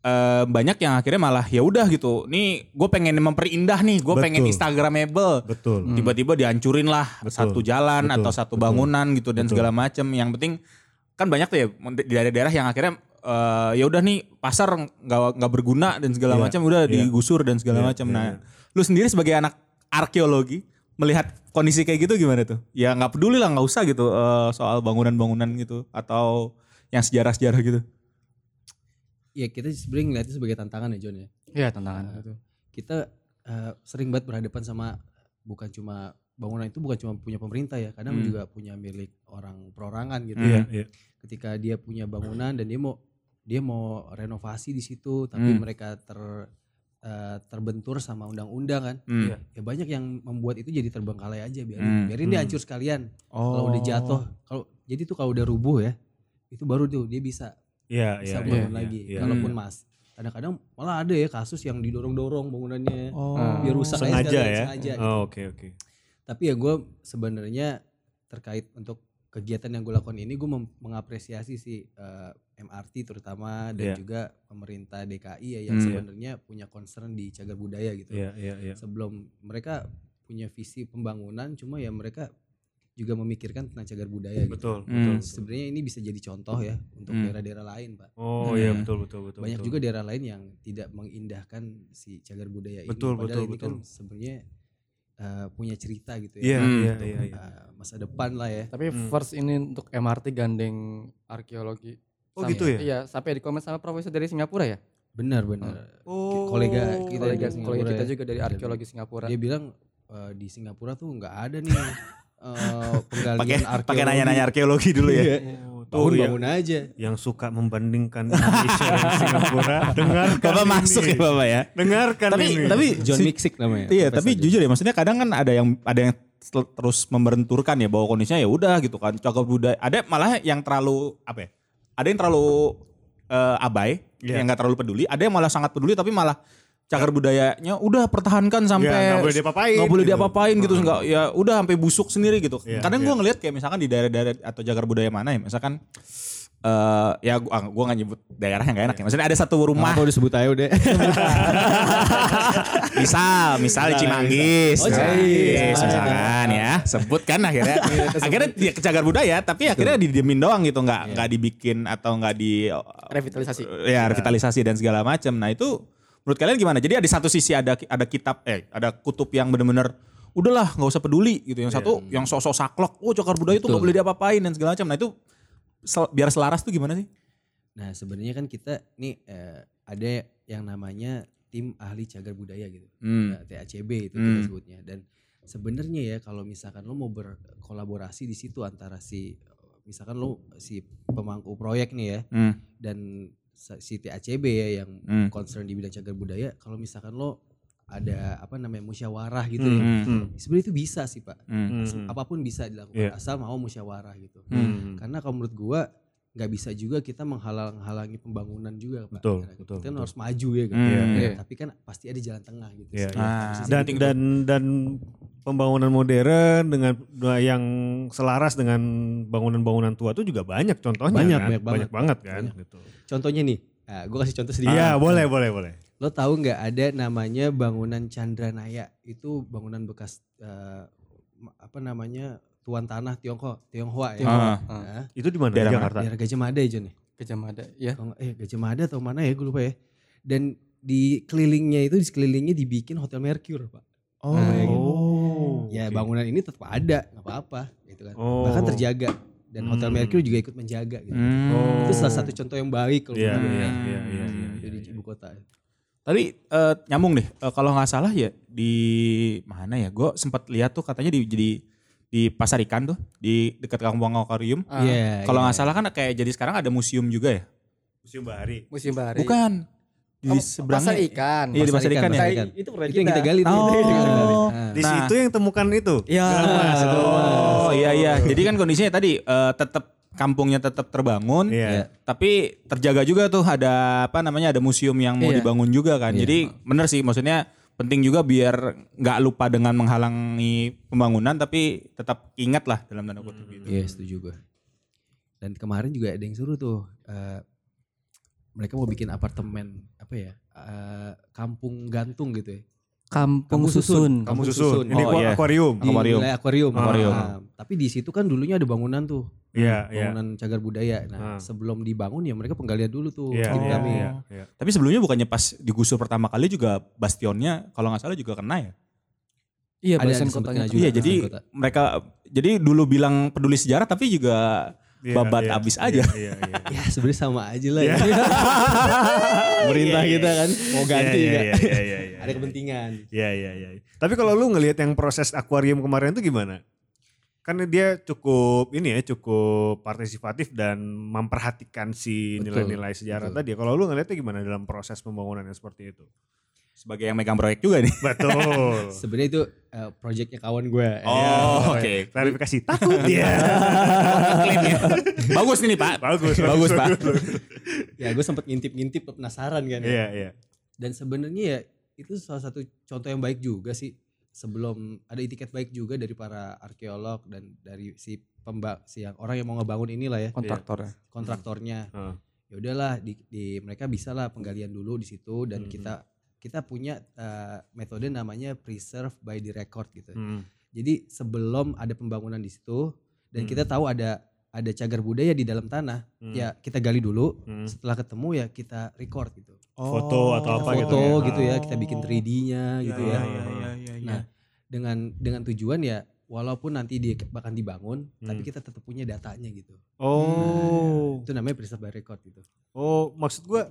S8: eh, banyak yang akhirnya malah ya udah gitu. Nih gue pengen memperindah nih, gue
S9: Betul.
S8: pengen instagramable.
S9: Betul.
S8: Hmm. tiba-tiba dihancurin lah
S9: Betul,
S8: satu jalan
S9: betul,
S8: atau satu
S9: betul,
S8: bangunan gitu dan
S9: betul.
S8: segala macem yang penting kan banyak tuh ya di daerah-daerah yang akhirnya eh, ya udah nih pasar nggak nggak berguna dan segala
S9: Iya,
S8: macam udah
S9: iya.
S8: digusur dan segala
S9: Iya,
S8: macam
S9: iya,
S8: nah
S9: iya.
S8: lu sendiri sebagai anak arkeologi melihat kondisi kayak gitu gimana tuh ya nggak peduli lah nggak usah gitu eh, soal bangunan-bangunan gitu atau yang sejarah-sejarah gitu
S5: ya kita sebenarnya ngeliatnya sebagai tantangan ya John ya
S10: Iya tantangan itu.
S5: kita eh, sering banget berhadapan sama bukan cuma bangunan itu bukan cuma punya pemerintah ya kadang
S8: Hmm.
S5: juga punya milik orang perorangan gitu
S8: Iya,
S5: ya
S9: iya.
S5: ketika dia punya bangunan dan dia mau dia mau renovasi di situ tapi
S8: Hmm.
S5: mereka ter eh, terbentur sama undang-undang kan
S8: Hmm.
S9: Iya.
S5: ya banyak yang membuat itu jadi terbengkalai aja
S8: Hmm.
S5: biarin biarin dia
S9: Hmm.
S5: hancur sekalian
S8: oh.
S5: kalau udah jatuh kalau jadi tuh kalau udah rubuh ya itu baru tuh dia bisa
S9: Iya
S5: bisa
S10: iya,
S5: bangun lagi kalaupun
S8: Hmm.
S5: mas kadang-kadang malah ada ya kasus yang didorong-dorong bangunannya
S8: oh.
S5: biar rusak aja
S9: sengaja
S5: sekalian,
S9: ya.
S5: sengaja gitu.
S9: Oh, oke oke.
S5: tapi ya gue sebenarnya terkait untuk kegiatan yang gue lakukan ini gue mem- mengapresiasi si eh, MRT terutama dan
S9: Iya.
S5: juga pemerintah DKI ya yang
S8: Hmm.
S5: sebenarnya punya concern di cagar budaya gitu
S9: Iya iya iya.
S5: sebelum mereka punya visi pembangunan cuma ya mereka juga memikirkan tentang cagar budaya gitu.
S9: Betul,
S8: Hmm.
S9: betul. betul.
S5: Sebenarnya ini bisa jadi contoh ya untuk
S8: Hmm.
S5: daerah-daerah lain, Pak.
S9: Oh iya
S8: Hmm.
S9: betul betul betul.
S5: Banyak
S9: betul.
S5: juga daerah lain yang tidak mengindahkan si cagar budaya ini.
S9: Betul,
S5: Padahal
S9: betul,
S5: ini kan sebenarnya eh, punya cerita gitu ya.
S9: Iya,
S8: Hmm.
S9: iya, iya, iya.
S5: Eh, masa depan lah ya.
S10: Tapi
S9: Hmm.
S10: first ini untuk MRT gandeng arkeologi.
S9: Oh
S10: Sama-
S9: gitu ya?
S10: Iya, sampai dikomen sama profesor dari Singapura ya?
S5: Benar benar.
S9: Oh.
S5: Kolega
S8: Iya,
S5: kita
S10: Kolega,
S5: di
S10: kolega
S5: Singapura
S10: kita
S5: ya.
S10: juga dari arkeologi Singapura.
S5: Dia bilang eh, di Singapura tuh nggak ada <laughs> nih eh, penggalian
S8: Pakai
S5: arkeologi.
S8: pakai nanya-nanya arkeologi dulu ya.
S5: Iya.
S9: Oh, tuh
S5: Bangun
S9: ya.
S5: bangun aja.
S9: Yang suka membandingkan Indonesia dan Singapura. Dengarkan
S8: Bapak
S9: ini.
S8: masuk ya Bapak ya.
S9: Dengarkan
S8: Tapi
S9: kan ini. Hmm,
S8: tapi
S5: John
S8: si-
S5: Mixic
S8: Iya,
S5: namanya. Profesor
S8: tapi
S5: John.
S8: jujur ya maksudnya kadang kan ada yang ada yang tel- terus membenturkan ya bahwa kondisinya ya udah gitu kan cocok budaya. Ada malah yang terlalu apa ya? Ada yang terlalu eh, abai,
S9: Iya.
S8: yang nggak terlalu peduli, ada yang malah sangat peduli tapi malah cagar budayanya udah pertahankan sampai
S9: Iya, nggak boleh diapa-apain
S8: nggak boleh
S9: gitu.
S8: diapa-apain gitu
S9: Hmm.
S8: nggak ya udah sampai busuk sendiri gitu
S9: Iya,
S8: kadang
S9: iya.
S8: gua ngelihat kayak misalkan di daerah-daerah atau cagar budaya mana ya misalkan eh ya gua, ah, gua nggak nyebut daerah yang gak enak ya maksudnya ada satu rumah
S5: Apa udah sebut aja udah.
S8: <laughs> misal misal di Cimanggis
S5: Oh,
S8: Cimanggis,
S5: Cimanggis.
S8: misalkan ya sebut kan akhirnya akhirnya dia kecagar budaya tapi akhirnya didiemin doang gitu nggak nggak dibikin atau nggak di
S10: Revitalisasi.
S8: ya revitalisasi dan segala macam nah itu menurut kalian gimana jadi ada satu sisi ada ada kitab eh ada kutub yang benar-benar udahlah nggak usah peduli gitu yang satu yang sosok saklok oh cagar budaya itu nggak boleh diapa-apain dan segala macam nah itu sel- biar selaras tuh gimana sih
S5: Nah sebenarnya kan kita nih eh, ada yang namanya tim ahli cagar budaya gitu,
S8: Hmm.
S5: Nah, TACB itu kita
S8: Hmm.
S5: sebutnya. Dan sebenarnya ya kalau misalkan lo mau berkolaborasi di situ antara si misalkan lo si pemangku proyek nih ya
S8: hmm.
S5: dan sa- si TACB ya yang
S8: Hmm.
S5: concern di bidang cagar budaya, kalau misalkan lo ada apa namanya musyawarah gitu ya.
S8: Hmm.
S9: Hmm.
S5: Sebenarnya itu bisa sih pak,
S8: Hmm.
S9: Hmm.
S5: apapun bisa dilakukan
S9: Iya.
S5: asal mau musyawarah gitu.
S9: Hmm.
S5: Karena kalau menurut gua nggak bisa juga kita menghalang-halangi pembangunan juga Pak.
S9: Betul,
S5: Karena
S9: betul,
S5: kita
S9: betul.
S5: harus maju ya kan.
S8: Hmm.
S9: Iya,
S10: iya.
S5: Tapi kan pasti ada jalan tengah gitu.
S9: Iya,
S5: Sebenarnya.
S8: iya.
S5: Harusnya sih
S9: dan
S5: gitu.
S9: dan dan pembangunan modern dengan nah, yang selaras dengan bangunan-bangunan tua itu juga banyak contohnya
S5: Banyak,
S9: kan?
S5: banyak banget.
S9: banget kan
S5: Banyak.
S9: gitu.
S5: contohnya nih, nah, gua kasih contoh sedikit.
S9: Iya, boleh boleh boleh.
S5: Lo tahu nggak ada namanya bangunan Chandranaya? Itu bangunan bekas eh, ma- apa namanya? tuan tanah Tiongkok, Tionghoa ya.
S10: Iya.
S8: Tionghoa,
S5: Nah,
S10: Ah,
S9: Itu di mana?
S8: Daerah mana?
S9: Jakarta.
S5: daerah Gajah Mada ya John ya?
S10: Gajah Mada ya.
S5: Kalau nggak- eh Gajah Mada atau mana ya gue lupa ya. Dan di kelilingnya itu di sekelilingnya dibikin Hotel Mercure, Pak.
S8: oh,
S5: Nah, gitu.
S9: Oh.
S5: ya
S9: oke.
S5: bangunan ini tetap ada nggak apa-apa gitu kan
S9: Oh.
S5: bahkan terjaga dan hotel
S9: Hmm.
S5: Mercury juga ikut menjaga gitu
S8: Hmm.
S9: Oh.
S5: itu salah satu contoh yang baik kalau
S9: Iya,
S5: menurut gue,
S9: iya,
S5: ya.
S9: iya, iya, iya,
S5: Itu
S9: iya.
S5: di ibu kota
S8: Tadi eh, nyambung deh, Eh, kalau nggak salah ya di mana ya? Gue sempat lihat tuh katanya di jadi di pasar ikan tuh di dekat kampung akuarium.
S10: Ah,
S5: Iya,
S8: kalau
S5: iya.
S8: nggak salah kan kayak jadi sekarang ada museum juga ya?
S9: Museum Bahari.
S10: Museum Bahari.
S8: Bukan di
S10: Oh,
S8: seberangnya.
S10: Pasar ikan.
S8: Iya di pasar ikan, ya.
S5: Pasar
S10: Kayak
S5: ikan.
S10: Itu proyek
S5: itu yang kita gali tuh.
S8: Oh.
S5: Itu yang kita gali. Ah.
S9: Di
S8: Nah.
S9: situ yang temukan itu.
S8: Iya.
S9: Gelang Mas.
S8: Oh iya iya. Jadi kan kondisinya tadi eh, tetap kampungnya tetap terbangun.
S9: Iya.
S8: Tapi terjaga juga tuh ada apa namanya ada museum yang mau
S10: Iya.
S8: dibangun juga kan. Jadi bener sih maksudnya penting juga biar nggak lupa dengan menghalangi pembangunan tapi tetap ingat lah dalam tanda kutip gitu.
S5: Iya setuju gue. Dan kemarin juga ada yang suruh tuh eh, mereka mau bikin apartemen apa ya eh, kampung gantung gitu ya.
S10: Kampung Susun.
S9: Kamu
S5: Kampung
S9: susun.
S5: susun.
S9: Ini
S8: Oh,
S9: gua
S8: iya.
S9: akuarium.
S5: Di
S8: Akuarium.
S5: wilayah akuarium.
S9: Ah,
S8: Akuarium.
S5: Nah, tapi di situ kan dulunya ada bangunan tuh.
S9: Iya, iya.
S5: bangunan cagar budaya.
S9: Ah.
S5: Nah, sebelum dibangun ya mereka penggalian dulu tuh.
S9: Iya,
S5: tim
S9: iya,
S5: kami.
S9: iya, iya.
S8: Tapi sebelumnya bukannya pas digusur pertama kali juga bastionnya kalau nggak salah juga kena ya.
S10: Iya,
S5: Ada-
S10: barusan
S5: ada sempat
S10: kotanya.
S5: kena juga.
S8: Iya jadi
S5: kota.
S8: mereka jadi dulu bilang peduli sejarah tapi juga
S9: Iya,
S8: babat
S9: iya,
S8: abis
S9: iya,
S8: aja.
S9: Iya, iya.
S5: Ya sebenarnya sama aja lah. ya. <laughs> Pemerintah kita kan mau ganti
S9: Iya,
S5: nggak?
S9: iya, iya, iya, iya,
S5: <laughs> <laughs>
S9: <laughs>
S5: Ada
S9: iya.
S5: kepentingan.
S9: Iya iya iya. Tapi kalau lu ngelihat yang proses akuarium kemarin tuh gimana? Karena dia cukup ini ya cukup partisipatif dan memperhatikan si
S5: Betul,
S9: nilai-nilai sejarah
S5: betul.
S9: tadi. ya. Kalau lu ngelihatnya gimana dalam proses pembangunan yang seperti
S5: <laughs>
S9: itu?
S8: Sebagai yang megang proyek juga nih.
S9: Betul.
S5: Sebenarnya itu eh, proyeknya kawan gue.
S8: Oh, <laughs> oke.
S9: <laughs> Klarifikasi takut ya.
S8: Klaim ya. Bagus ini Pak.
S9: bagus,
S8: Bagus, Pak.
S5: Ya gue sempet ngintip-ngintip penasaran kan. ya.
S9: Iya iya.
S5: Dan sebenarnya ya itu salah satu contoh yang baik juga sih. Sebelum ada etiket baik juga dari para arkeolog dan dari si pembak si yang orang yang mau ngebangun inilah ya
S10: Kontraktornya.
S5: kontraktornya.
S9: Hmm. Heeh.
S5: Ya udahlah di, di- mereka bisa lah penggalian dulu di situ dan
S9: Hmm.
S5: kita kita punya eh, metode namanya preserve by the record gitu.
S9: Hmm.
S5: Jadi sebelum ada pembangunan di situ dan
S9: Hmm.
S5: kita tahu ada ada cagar budaya di dalam tanah,
S9: Hmm.
S5: ya kita gali dulu.
S9: Hmm.
S5: Setelah ketemu ya kita record gitu.
S9: Foto atau
S5: Kita
S9: apa gitu
S5: foto
S9: ya. Ah,
S5: gitu ya, kita bikin 3D-nya gitu
S8: Iya,
S5: ya.
S8: iya, iya, iya, iya.
S5: Nah, dengan dengan tujuan ya walaupun nanti dia bahkan dibangun tapi
S9: Hmm.
S5: kita tetap punya datanya gitu
S9: Oh.
S5: itu namanya preserve by record gitu
S9: Oh, maksud gua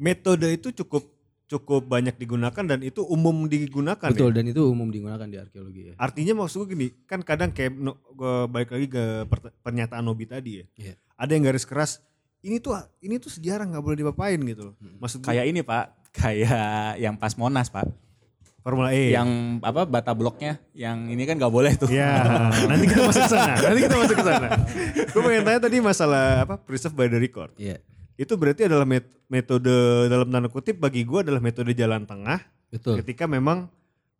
S9: metode itu cukup cukup banyak digunakan dan itu umum digunakan
S5: betul
S9: ya.
S5: dan itu umum digunakan di arkeologi ya
S9: Artinya maksud gua gini, kan kadang kayak no, gua balik lagi ke pert- pernyataan Nobi tadi ya.
S5: Iya.
S9: Ada yang garis keras, ini tuh ini tuh sejarah nggak boleh dipapain gitu loh.
S5: Hmm.
S9: Maksud gua
S8: Kayak ini pak, kayak yang pas Monas pak.
S9: Formula E.
S8: Yang apa bata bloknya, yang ini kan gak boleh tuh.
S9: Ya, <laughs> nanti kita masuk ke sana. Nanti kita masuk ke <laughs> sana. Gue pengen tanya tadi masalah apa preserve by the record.
S5: Iya,
S9: Itu berarti adalah met- metode dalam tanda kutip bagi gue adalah metode jalan tengah
S5: betul
S9: ketika memang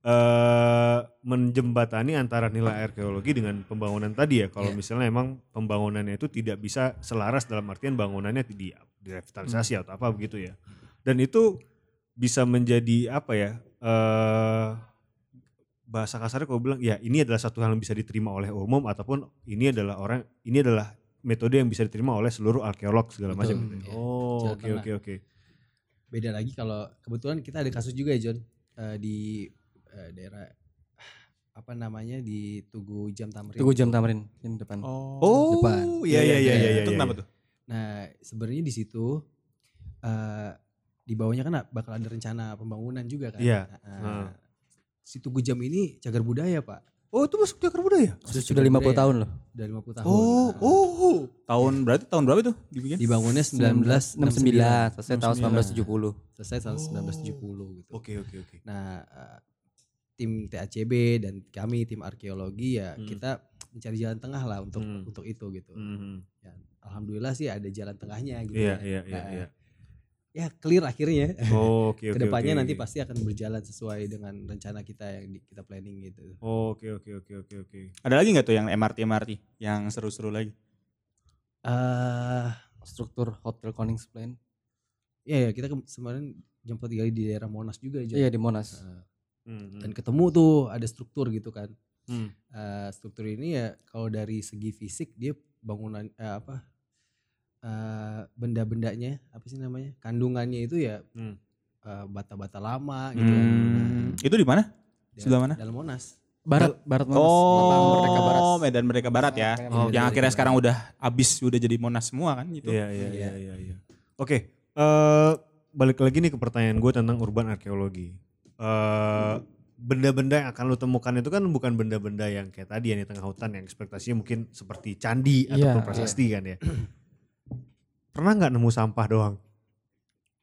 S9: eh menjembatani antara nilai arkeologi dengan pembangunan tadi ya. Kalau
S5: Iya.
S9: misalnya emang pembangunannya itu tidak bisa selaras dalam artian bangunannya di direvitalisasi atau apa begitu ya. Dan itu bisa menjadi apa ya? eh bahasa kasarnya kalau bilang ya ini adalah satu hal yang bisa diterima oleh umum ataupun ini adalah orang ini adalah metode yang bisa diterima oleh seluruh arkeolog segala macam. gitu
S5: Betul,
S9: ya.
S5: iya.
S9: Oh,
S5: Jalan
S9: oke
S5: tengah.
S9: oke oke.
S5: beda lagi kalau kebetulan kita ada kasus juga ya John eh, di eh, daerah apa namanya di Tugu Jam Tamrin.
S10: Tunggu jam tamarin jam depan.
S9: Oh,
S5: depan.
S9: iya iya iya iya.
S8: Itu
S9: iya,
S8: kenapa
S9: iya.
S8: tuh?
S5: Nah sebenarnya di situ eh di bawahnya kan bakal ada rencana pembangunan juga kan.
S9: Iya.
S5: Nah,
S9: Heeh.
S5: Si Tugu Jam ini cagar budaya pak.
S9: Oh, itu masuk cagar budaya?
S10: Sudah sudah 50 tahun loh.
S5: Dari 50 tahun.
S9: Oh,
S5: Nah,
S9: oh, oh.
S8: Tahun berarti tahun berapa tuh dibikin?
S5: Dibangunnya 1969.
S10: 1969 selesai tahun 1970.
S5: Selesai tahun 1970 gitu.
S9: Oh. Oke, oke, oke.
S5: Nah, eh, tim TACB dan kami tim arkeologi ya
S9: Hmm.
S5: kita mencari jalan tengah lah untuk
S9: Hmm.
S5: untuk itu gitu. Alhamdulillah sih ada jalan tengahnya gitu.
S9: Mhm. Iya,
S5: ya.
S9: iya, iya,
S5: Nah,
S9: iya.
S5: Ya clear akhirnya. <laughs>
S9: Oh, <laughs> Oke, oke.
S5: Kedepannya
S9: oke.
S5: nanti pasti akan berjalan sesuai dengan rencana kita yang di- kita planning gitu.
S9: Oh, Oke, oke, oke, oke, oke.
S8: Ada lagi nggak tuh yang MRT MRT yang seru-seru lagi?
S5: eh
S10: Struktur Hotel Koningsplein.
S5: ya, ya kita ke- kemarin jemput tiga kali di daerah Monas juga ya. Jon.
S10: Iya di Monas.
S5: Eh,
S9: Hmm, hmm.
S5: dan ketemu tuh ada struktur gitu kan.
S9: Hmm.
S5: Eh, struktur ini ya kalau dari segi fisik dia bangunan eh, apa eh, benda-bendanya apa sih namanya kandungannya itu ya
S9: Hmm.
S5: eh, bata-bata lama gitu.
S8: Hmm. Itu di mana?
S5: Daerah-
S8: sebelah mana?
S5: Dalam Monas.
S10: Barat Barat Monas. Lapang Merdeka Barat.
S8: Oh, Medan Merdeka Barat ya.
S5: Oh,
S10: Lapang Merdeka
S8: Yang
S5: Merdeka
S8: akhirnya
S5: Barat.
S8: sekarang udah abis, udah jadi Monas semua kan gitu.
S9: Iya, iya, iya, iya, iya. Oke, eh, balik lagi nih ke pertanyaan gue tentang urban arkeologi. Eh, benda-benda yang akan lo temukan itu kan bukan benda-benda yang kayak tadi yang di tengah hutan yang ekspektasinya mungkin seperti candi
S10: Iya,
S9: ataupun prasasti kan ya. Pernah nggak nemu sampah doang?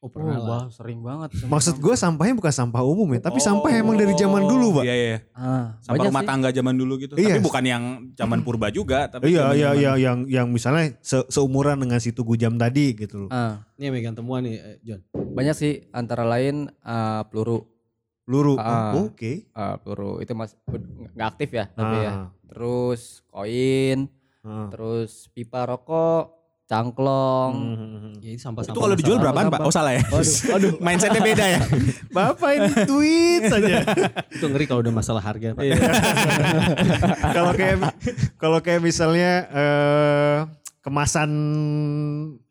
S5: Oh
S10: Oh,
S5: pernah lah.
S10: wah, sering banget.
S9: Maksud gue sampahnya bukan sampah umum ya, tapi sampah emang dari zaman dulu, Pak.
S8: Oh. Iya, iya.
S10: ah,
S8: Sampah
S10: banyak
S8: rumah
S10: sih.
S8: tangga zaman dulu gitu.
S9: Iya.
S8: Tapi bukan yang zaman purba juga, tapi
S9: Iya,
S8: zaman-
S9: iya,
S8: zaman-
S9: iya, yang yang misalnya se- seumuran dengan si Tugu Jam tadi gitu loh.
S10: Ah,
S5: Ini yang megang temuan nih eh, John.
S10: banyak sih antara lain ah, peluru
S9: Peluru.
S10: Ah.
S9: Oh, Oke.
S10: Ah, peluru itu mas nggak aktif ya tapi ya.
S9: Ah,
S10: Terus koin,
S9: ah.
S10: terus pipa rokok, cangklong.
S9: Hmm.
S5: Ya ini sampah
S8: Itu kalau dijual berapaan, Pak? Oh, salah ya.
S10: Waduh, waduh.
S8: <laughs> Mindsetnya beda
S9: <laughs>
S8: ya.
S9: <laughs> Bapak ini tweet saja.
S5: Itu ngeri kalau udah masalah harga
S8: Iya.
S5: <laughs> Pak.
S9: <laughs> Kalau kayak kalau kayak misalnya eh, kemasan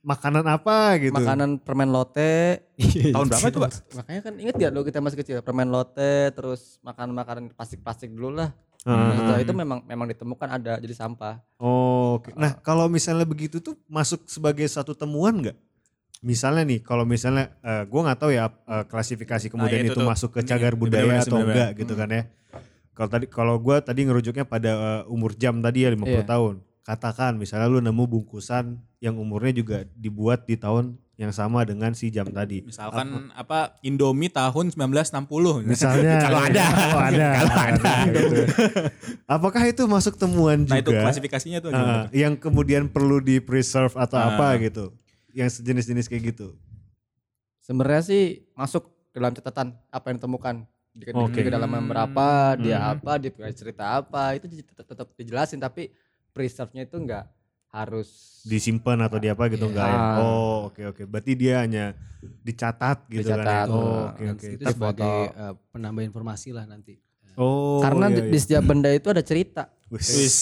S9: makanan apa gitu.
S10: Makanan permen lote.
S5: Iya,
S8: Tahun berapa itu, Pak?
S10: Makanya kan inget ya dulu kita masih kecil permen lote, terus makanan makanan plastik-plastik dulu lah.
S9: Ah.
S10: Nah, Setelah itu memang memang ditemukan ada jadi sampah.
S9: Oh, oke. Nah, kalau misalnya begitu tuh masuk sebagai satu temuan nggak? Misalnya nih, kalau misalnya eh, gua nggak tahu ya eh, klasifikasi kemudian
S8: Nah, itu
S9: itu,
S8: tuh.
S9: masuk ke
S8: Ini
S9: cagar budaya
S8: bener-bener
S9: atau
S8: sebenarnya. Hmm.
S9: enggak gitu kan ya. Kalau tadi kalau gua tadi ngerujuknya pada eh, umur jam tadi ya 50
S10: Iya.
S9: tahun. Katakan misalnya lu nemu bungkusan yang umurnya juga dibuat di tahun yang sama dengan si jam tadi.
S8: Misalkan apa Indomie tahun 1960.
S9: Misalnya
S8: <laughs> kalau ada.
S9: <laughs> Kalau ada.
S8: Kalau ada.
S9: Gitu. Apakah itu masuk temuan
S8: Nah,
S9: juga?
S8: itu klasifikasinya tuh gimana
S9: Ah,
S8: tuh?
S9: yang kemudian perlu di preserve atau
S8: Ah.
S9: apa gitu yang sejenis-jenis kayak gitu
S10: Sebenarnya sih masuk ke dalam catatan apa yang ditemukan di di-
S9: Oke.
S10: di kedalaman berapa, dia
S9: Mhm.
S10: apa, dia punya cerita apa, itu tetap, tetap dijelasin tapi preserve-nya itu enggak harus
S9: disimpan atau di apa gitu
S8: Iya.
S9: enggak ya
S10: Ah.
S9: oh oke oke berarti dia hanya dicatat gitu kan ya?
S10: Dicatat.
S9: oh oke
S5: Dan
S9: oke
S5: itu
S10: Terus
S5: sebagai
S10: foto.
S5: eh, penambah informasi lah nanti.
S9: oh
S10: Karena
S9: iya,
S10: di, di
S9: iya.
S10: setiap benda itu ada cerita.
S9: Wis.
S8: Wis.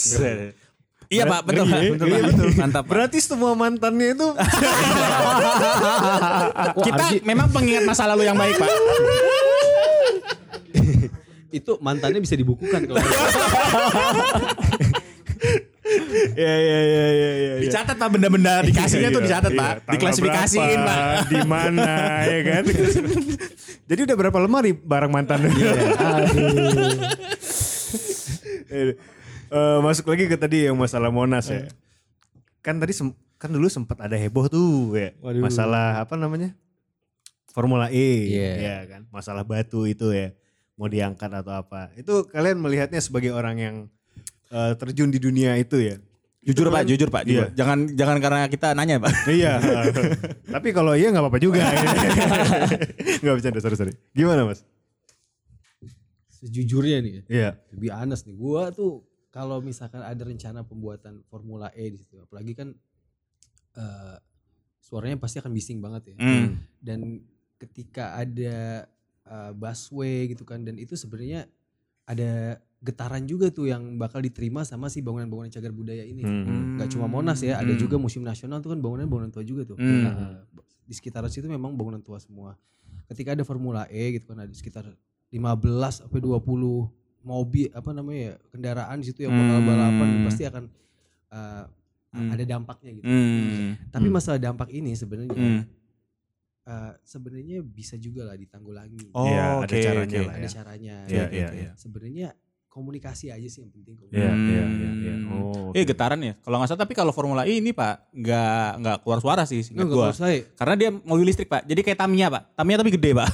S8: Iya, Pak, betul,
S9: Ngeri
S8: Pak.
S9: ya,
S8: Betul,
S9: ngeri
S8: Pak.
S9: betul.
S8: Mantap, Pak.
S9: berarti semua mantannya itu
S8: <laughs>
S9: Iya,
S8: Kita memang pengingat masa lalu yang baik, Pak.
S5: itu mantannya bisa dibukukan kalau
S9: Iya iya iya iya iya.
S8: Dicatat pak benda-benda dikasihnya tuh dicatat pak. Diklasifikasiin pak.
S9: Di mana ya
S8: <laughs>
S9: kan? Jadi udah berapa lemari barang mantan?
S8: Iya.
S5: <laughs>
S9: Eh, eh, masuk lagi ke tadi yang masalah Monas ya.
S8: Iya.
S9: Kan tadi sem- kan dulu sempat ada heboh tuh ya.
S5: Waduh.
S9: Masalah apa namanya? Formula E
S5: Iya.
S9: ya kan. Masalah batu itu ya. Mau diangkat atau apa. Itu kalian melihatnya sebagai orang yang eh, terjun di dunia itu ya.
S8: Jujur pak, jujur pak. jujur.
S9: Iya.
S8: Jangan jangan karena kita nanya pak.
S9: Iya. <laughs> Tapi kalau iya nggak apa-apa
S8: <laughs>
S9: juga. Nggak bercanda, sorry, sorry. Gimana mas?
S5: sejujurnya nih. ya.
S9: Iya.
S5: Lebih honest nih. Gua tuh kalau misalkan ada rencana pembuatan Formula E di situ, apalagi kan eh, suaranya pasti akan bising banget ya.
S8: Hmm.
S5: Dan ketika ada eh, busway gitu kan dan itu sebenarnya ada getaran juga tuh yang bakal diterima sama si bangunan-bangunan cagar budaya ini.
S9: Hmm.
S5: Gak cuma Monas ya, ada
S8: Hmm.
S5: juga Museum Nasional tuh kan bangunan-bangunan tua juga tuh.
S8: Hmm.
S5: Nah, di sekitar situ memang bangunan tua semua. Ketika ada Formula E gitu kan ada sekitar 15 sampai 20 mobil apa namanya ya, kendaraan di situ yang bakal
S8: Hmm.
S5: balapan pasti akan uh,
S8: Hmm.
S5: ada dampaknya gitu.
S8: Hmm.
S5: Tapi
S9: Hmm.
S5: masalah dampak ini sebenarnya
S8: Hmm.
S5: uh, sebenarnya bisa juga lah ditanggulangi.
S8: Oh
S9: Iya, ada
S8: oke.
S9: caranya
S8: oke.
S9: lah
S5: ada
S9: ya.
S5: caranya.
S9: Iya,
S5: gitu
S9: iya,
S5: kan.
S9: iya.
S5: Sebenarnya komunikasi aja sih yang penting.
S9: Iya,
S8: Hmm.
S9: iya, iya, iya. Oh,
S8: Eh
S9: oke.
S8: getaran ya. Kalau nggak salah tapi kalau Formula E ini pak nggak nggak keluar suara sih.
S5: Enggak
S8: seingat
S5: enggak
S8: gua.
S5: perlu saya.
S8: Karena dia mobil listrik pak. Jadi kayak Tamiya pak. Tamiya tapi gede pak.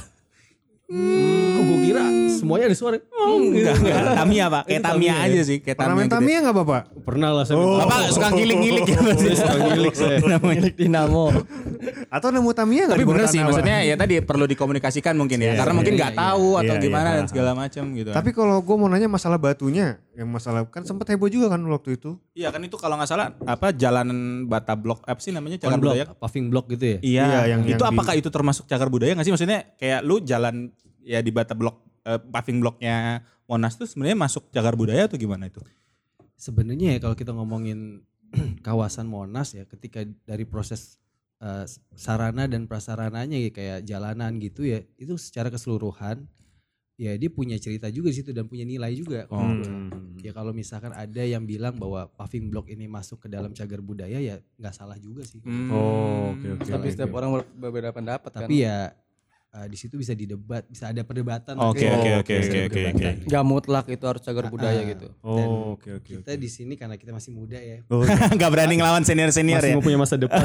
S5: Oh, gua kira semuanya ada suara. Oh,
S8: Enggak, enggak. Tamiya pak. Kayak Tamiya
S5: Itu Tamiya
S8: aja
S5: ya?
S8: sih. Kayak
S9: Pernah main
S8: Tamiya gede.
S9: Tamiya nggak bapak?
S5: Pernah lah saya.
S9: Oh.
S8: Bapak suka ngilik-ngilik ya Pak.
S5: Saya suka ngilik
S8: <laughs>
S5: saya.
S10: Milik Dinamo.
S9: Atau nemu Tamiya nggak?
S8: Tapi
S9: di bawah
S8: bener sih
S9: tanah, Pak?
S8: maksudnya ya tadi perlu dikomunikasikan mungkin ya.
S9: Iya,
S8: Karena
S9: iya,
S8: mungkin
S5: iya,
S8: nggak
S5: iya.
S8: tahu atau
S9: Iya,
S8: gimana
S9: iya.
S8: dan segala macam gitu.
S9: Tapi kalau gue mau nanya masalah batunya, yang masalah kan sempat heboh juga kan waktu itu.
S8: iya kan itu kalau nggak salah apa jalan Batablok apa sih namanya jalan
S5: Jalan block,
S8: budaya.
S5: paving block gitu ya.
S8: Iya,
S9: Iya, yang-
S8: yang, itu
S9: yang di-
S8: apakah itu termasuk cagar budaya nggak sih? Maksudnya kayak lu jalan ya di Batablok eh, paving bloknya Monas tuh sebenarnya masuk cagar budaya atau gimana itu?
S5: Sebenarnya ya kalau kita ngomongin <clears throat> kawasan Monas ya, ketika dari proses eh, sarana dan prasarananya ya, kayak jalanan gitu ya, itu secara keseluruhan ya dia punya cerita juga di situ dan punya nilai juga.
S8: Oh.
S9: Hmm.
S5: Ya kalau misalkan ada yang bilang bahwa paving block ini masuk ke dalam cagar budaya ya nggak salah juga sih.
S8: Hmm.
S9: Oh, oke,
S8: <laughs>
S9: oke.
S10: Tapi setiap orang ber- berbeda pendapat kan.
S5: Tapi ya eh, di situ bisa didebat, bisa ada perdebatan.
S8: Oke, oke,
S5: Bisa ada
S8: oke, oke, oke,
S5: perdebatan.
S8: oke.
S10: Gak mutlak itu harus cagar budaya
S5: Ah,
S10: gitu.
S5: Dan
S9: Oh, oke, oke.
S5: Kita di sini karena kita masih muda ya.
S9: Oh, iya.
S8: Gak berani ngelawan senior senior ya. <laughs>
S5: Masih mau punya masa depan.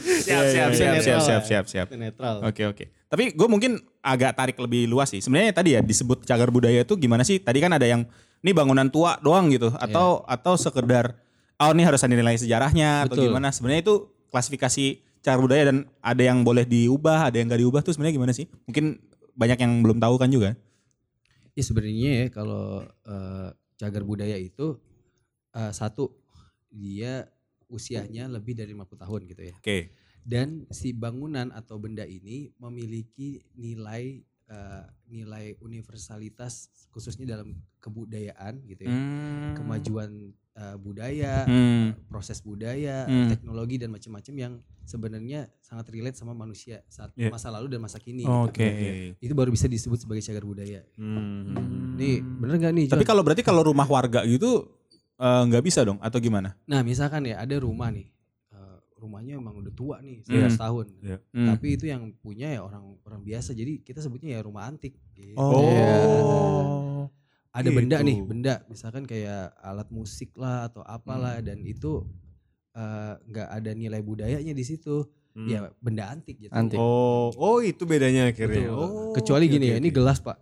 S8: siap, siap, ya?
S5: iya,
S8: siap,
S5: iya.
S8: siap, siap, siap, siap.
S5: Netral.
S8: Oke oke. Tapi gue mungkin agak tarik lebih luas sih. Sebenarnya tadi ya disebut cagar budaya itu gimana sih? Tadi kan ada yang ini bangunan tua doang gitu
S5: Iya.
S8: atau atau sekedar oh ini harus ada nilai sejarahnya atau
S5: Betul.
S8: gimana? Sebenarnya itu klasifikasi cagar budaya dan ada yang boleh diubah, ada yang gak diubah tuh sebenarnya gimana sih? Mungkin banyak yang belum tahu kan juga.
S5: Ya sebenarnya ya kalau eh, cagar budaya itu eh, satu dia usianya lebih dari 50 tahun gitu ya.
S8: Oke.
S5: Dan si bangunan atau benda ini memiliki nilai eh, nilai universalitas khususnya dalam kebudayaan gitu ya. Kemajuan eh, budaya,
S8: Hmm.
S5: proses budaya,
S8: Hmm.
S5: teknologi dan macam-macam yang sebenarnya sangat relate sama manusia saat
S9: Iya.
S5: masa lalu dan masa kini. Iya,
S8: Oke.
S5: Itu baru bisa disebut sebagai cagar budaya.
S9: Hmm.
S5: Nih, bener gak nih?
S8: Tapi
S5: John?
S8: kalau berarti kalau rumah warga gitu eh, nggak bisa dong atau gimana?
S5: Nah misalkan ya ada rumah nih, eh, rumahnya emang udah tua nih, 100
S8: Iya.
S5: tahun.
S9: Iya.
S8: Hmm.
S5: Tapi itu yang punya ya orang orang biasa. Jadi kita sebutnya ya rumah antik. gitu. Iya.
S8: Oh.
S5: Ada benda
S9: gitu.
S5: nih, benda misalkan kayak alat musik lah atau apalah
S8: Hmm.
S5: dan itu eh, nggak ada nilai budayanya di situ.
S9: Hmm.
S5: Ya benda antik gitu.
S10: Antik.
S9: Oh, oh itu bedanya akhirnya.
S5: Betul.
S9: Oh,
S5: Kecuali
S9: oke,
S5: gini
S9: oke,
S5: ya, ini
S9: oke.
S5: gelas pak.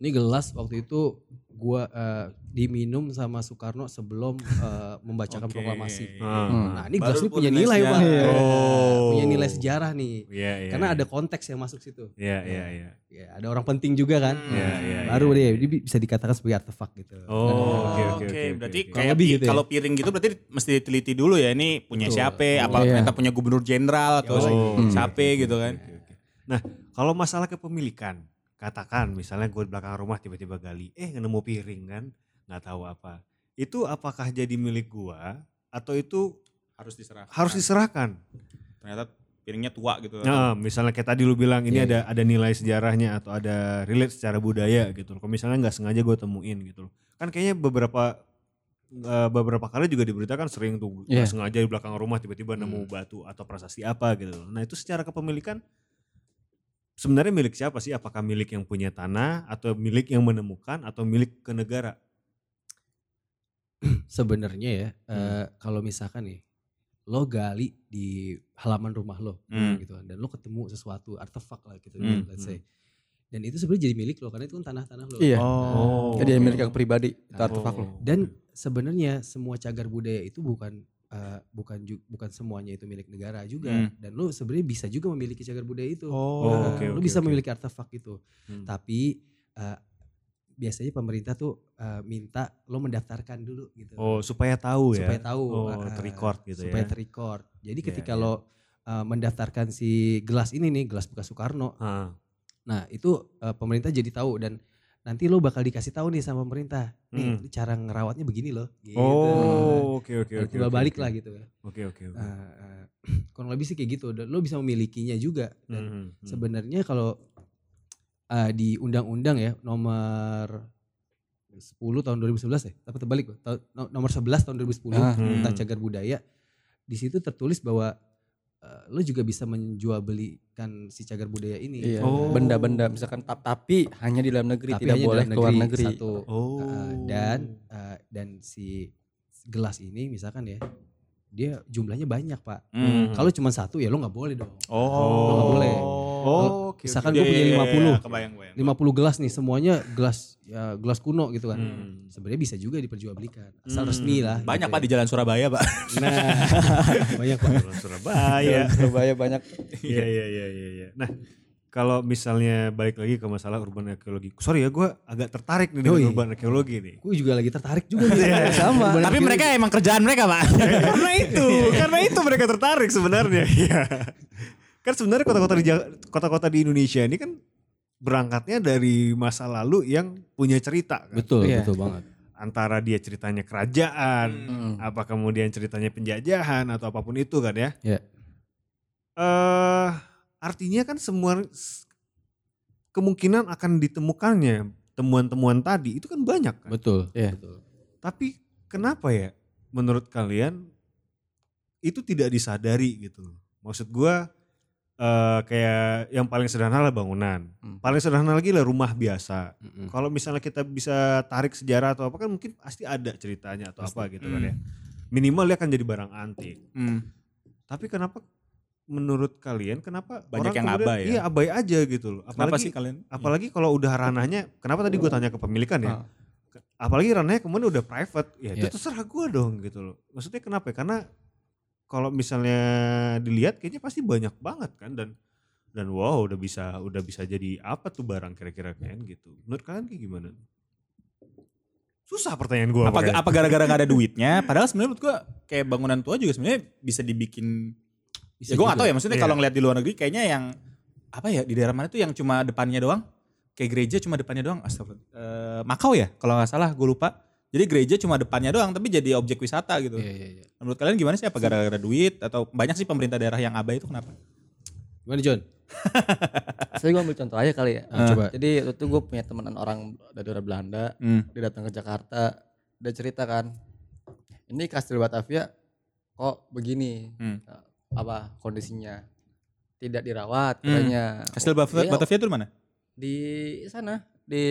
S5: Ini gelas waktu itu gua eh, diminum sama Soekarno sebelum eh, membacakan
S8: Oke.
S5: proklamasi.
S9: Ah.
S5: Nah ini
S8: Baru
S5: gelas ini punya
S8: punya
S5: nilai pak,
S8: sejarah.
S9: Oh.
S5: punya nilai sejarah nih.
S9: Iya, iya.
S5: Karena
S9: iya.
S5: ada konteks yang masuk situ.
S9: Iya, iya, iya.
S5: Ya, ada orang penting juga kan.
S8: Hmm.
S9: Iya, iya,
S5: Baru
S9: iya.
S5: dia dia bisa dikatakan sebagai artefak gitu.
S9: Oh, oke, oke, oke.
S8: Berarti
S9: oke.
S8: kayak
S5: Kurang lebih
S8: pi-
S5: gitu ya.
S8: kalau piring gitu berarti mesti diteliti dulu ya ini punya
S5: Betul. Iya.
S8: siapa, apa
S10: Iya.
S8: ternyata punya gubernur jenderal atau
S9: Oh, oke,
S8: siapa gitu kan.
S9: Oke, oke. Nah, kalau masalah kepemilikan, katakan misalnya gue di belakang rumah tiba-tiba gali, eh nemu piring kan, nggak tahu apa. Itu apakah jadi milik gua atau itu
S8: Harus diserah.
S9: Kan. harus diserahkan?
S8: Ternyata piringnya tua gitu.
S9: Nah, misalnya kayak tadi lu bilang ini ada ada nilai sejarahnya atau ada relate secara budaya gitu loh. Kalau misalnya nggak sengaja gue temuin gitu loh. Kan kayaknya beberapa eh, beberapa kali juga diberitakan sering tuh nggak
S10: Iya.
S9: sengaja di belakang rumah tiba-tiba nemu batu atau prasasti apa gitu loh. Nah, itu secara kepemilikan sebenarnya milik siapa sih? Apakah milik yang punya tanah atau milik yang menemukan atau milik ke negara?
S5: Sebenarnya ya,
S9: Hmm.
S5: eh, kalau misalkan nih lo gali di halaman rumah lo
S8: Hmm.
S5: gitu kan dan lo ketemu sesuatu artefak lah gitu
S8: Hmm,
S5: let's say. Dan itu sebenarnya jadi milik lo karena itu kan tanah-tanah lo.
S10: Iya.
S9: Oh.
S10: Jadi milik aku pribadi, itu
S5: Oh.
S10: artefak lo.
S9: Hmm.
S5: Dan sebenarnya semua cagar budaya itu bukan eh, bukan ju- bukan semuanya itu milik negara juga
S8: Hmm.
S5: dan lo sebenarnya bisa juga memiliki cagar budaya itu.
S9: Oh,
S5: Nah,
S9: oke,
S5: lo
S9: oke,
S5: bisa
S9: oke.
S5: memiliki artefak itu.
S9: Hmm.
S5: Tapi eh, biasanya pemerintah tuh eh, minta lo mendaftarkan dulu gitu.
S9: Oh, supaya tahu ya.
S5: supaya tahu
S9: Oh,
S5: eh, eh,
S9: terrecord gitu
S5: supaya
S9: ya.
S5: terrecord. Jadi
S9: Iya,
S5: ketika
S9: iya.
S5: lo eh, mendaftarkan si gelas ini nih, gelas bekas Soekarno.
S9: Ah,
S5: Nah, itu eh, pemerintah jadi tahu dan nanti lo bakal dikasih tahu nih sama pemerintah. Nih,
S9: Hmm.
S5: ini cara ngerawatnya begini loh. Gitu.
S9: Oh, oke oke
S5: Nanti
S9: oke.
S5: timbal
S9: oke,
S5: balik
S9: oke.
S5: lah gitu ya.
S9: Oke oke oke.
S5: Eh, eh, <clears throat> kurang lebih sih kayak gitu. Dan lo bisa memilikinya juga.
S9: Mhm,
S5: Dan
S9: mhm.
S10: Hmm.
S5: sebenarnya kalau eh, di undang-undang ya nomor 10 tahun 2011 ya, apa terbalik Pak? Tau- no- nomor 11 tahun 2010
S10: Ah,
S5: tentang
S9: hmm.
S5: cagar budaya di situ tertulis bahwa eh, lo juga bisa menjualbelikan si cagar budaya ini.
S10: Iya.
S9: Oh.
S10: Benda-benda misalkan tap tapi hanya di dalam negeri,
S5: Tapi
S10: tidak
S5: hanya di
S10: boleh
S5: dalam
S10: keluar negeri. Oh.
S5: Satu.
S9: Oh.
S5: Eh, dan eh, dan si gelas ini misalkan ya dia jumlahnya banyak pak.
S8: Hmm.
S5: Kalau cuma satu ya lo nggak boleh dong.
S8: Oh.
S5: Lo nggak boleh.
S9: Oh, oke. oke.
S5: misalkan gue punya
S8: Iya, iya,
S5: 50.
S8: iya, kebayang, kebayang.
S5: 50 gelas nih semuanya gelas ya, gelas kuno gitu kan.
S9: Hmm.
S5: Sebenarnya bisa juga diperjualbelikan asal
S9: Hmm.
S5: resmi lah.
S8: Banyak
S5: gitu
S8: Pak
S5: ya.
S8: di Jalan Surabaya, Pak.
S5: Nah, <laughs> banyak pak.
S9: iya. Orang
S5: <laughs>
S9: Surabaya.
S10: Surabaya banyak.
S9: Iya iya iya iya iya. Nah, kalau misalnya balik lagi ke masalah urban arkeologi. Sorry ya, gue agak tertarik nih dengan
S5: Oh, iya.
S9: urban arkeologi nih.
S5: Gue juga lagi tertarik juga nih. gitu.
S10: Sama.
S5: Banyak
S8: Iya. Tapi
S5: juga. Iya.
S8: mereka emang kerjaan mereka,
S5: <laughs>
S8: Pak. <laughs>
S9: karena itu, <laughs> karena itu mereka tertarik sebenarnya. <laughs> Iya. kan sebenarnya kota-kota di Ja- kota-kota di Indonesia ini kan berangkatnya dari masa lalu yang punya cerita kan.
S5: betul
S10: Iya.
S5: betul banget.
S9: Antara dia ceritanya kerajaan,
S5: Hmm.
S9: apa kemudian ceritanya penjajahan atau apapun itu kan ya.
S5: Iya.
S9: Eh, artinya kan semua s- kemungkinan akan ditemukannya temuan-temuan tadi itu kan banyak kan.
S5: Betul.
S10: Iya.
S5: betul.
S9: Tapi kenapa ya menurut kalian itu tidak disadari gitu loh. Maksud gua eh, kayak yang paling sederhana lah bangunan.
S10: Hmm.
S9: Paling sederhana lagi lah rumah biasa.
S8: Hmm.
S5: Mm-mm.
S9: Kalau misalnya kita bisa tarik sejarah atau apa kan mungkin pasti ada ceritanya atau apa gitu
S8: Hmm.
S9: kan ya. Minimal dia akan jadi barang antik. Tapi kenapa menurut kalian kenapa orang
S8: Banyak yang
S9: kemudian,
S8: abai ya?
S9: Iya, abai aja gitu loh.
S8: Kenapa
S9: Apalagi
S8: sih kalian?
S9: apalagi kalau udah ranahnya kenapa tadi gue tanya kepemilikan ya?
S10: Ah.
S9: Ke- Apalagi ranahnya kemudian udah private, ya itu
S5: Iya.
S9: terserah gue dong gitu loh. Maksudnya kenapa ya? Karena kalau misalnya dilihat kayaknya pasti banyak banget kan dan dan wow udah bisa udah bisa jadi apa tuh barang kira-kira kan gitu. Menurut kalian kayak gimana? Susah pertanyaan gue.
S8: apa apa gara-gara gak ada duitnya padahal sebenarnya menurut gua kayak bangunan tua juga sebenarnya bisa dibikin
S5: Bisa
S8: ya
S5: gitu.
S8: gua gak
S5: juga.
S8: tahu ya maksudnya
S9: Iya.
S8: kalau ngeliat di luar negeri kayaknya yang apa ya di daerah mana tuh yang cuma depannya doang kayak gereja cuma depannya doang astagfirullah Eh, Makau ya kalau nggak salah gue lupa jadi gereja cuma depannya doang tapi jadi objek wisata gitu
S5: Iya, iya, iya.
S8: menurut kalian gimana sih apa gara-gara duit atau banyak sih pemerintah daerah yang abai itu kenapa
S5: Gimana John?
S10: Saya gue ambil contoh aja kali ya.
S5: Ah, coba.
S10: Jadi waktu itu gue punya temenan orang dari daerah Belanda,
S5: Hmm.
S10: dia datang ke Jakarta, dia cerita kan, ini kastil Batavia kok begini, Nah,
S8: Hmm.
S10: apa kondisinya tidak dirawat
S8: Hmm.
S10: katanya.
S8: Kastil Baf-
S10: Iya,
S8: Batavia itu di mana
S10: di sana di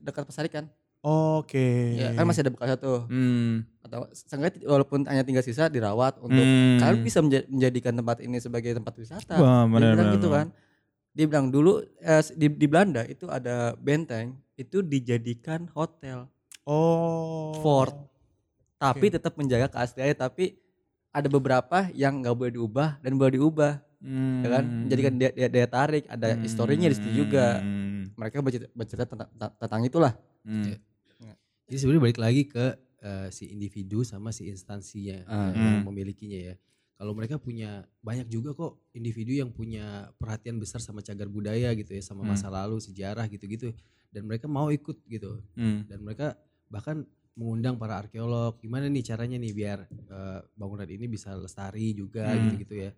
S10: dekat pesarikan.
S8: oke iya,
S10: Ya, kan masih ada bekasnya tuh.
S8: Hmm.
S10: Atau seenggaknya walaupun hanya tinggal sisa dirawat untuk
S8: Hmm.
S10: kalian bisa menja- menjadikan tempat ini sebagai tempat wisata.
S8: Wah,
S10: Dia
S8: benar,
S10: bilang
S8: benar,
S10: gitu
S8: benar.
S10: kan. Dia bilang dulu eh, di, di Belanda itu ada benteng itu dijadikan hotel
S8: oh
S10: fort, tapi tetap menjaga keasliannya tapi ada beberapa yang nggak boleh diubah dan boleh diubah,
S8: Hmm.
S10: ya kan? Menjadikan daya, daya- daya tarik, ada historinya di situ juga.
S8: Hmm.
S10: Mereka bercerita, bercerita tentang, tentang- tentang itulah.
S8: Hmm.
S10: Iya.
S5: Jadi sebenarnya balik lagi ke eh, si individu sama si instansinya
S10: Ah,
S8: hmm.
S5: yang memilikinya ya. Kalau mereka punya banyak juga kok individu yang punya perhatian besar sama cagar budaya gitu ya, sama
S8: Hmm.
S5: masa lalu, sejarah gitu-gitu, dan mereka mau ikut gitu,
S8: Hmm.
S5: dan mereka bahkan mengundang para arkeolog, gimana nih caranya nih biar eh, bangunan ini bisa lestari juga
S8: Hmm.
S5: gitu-gitu ya.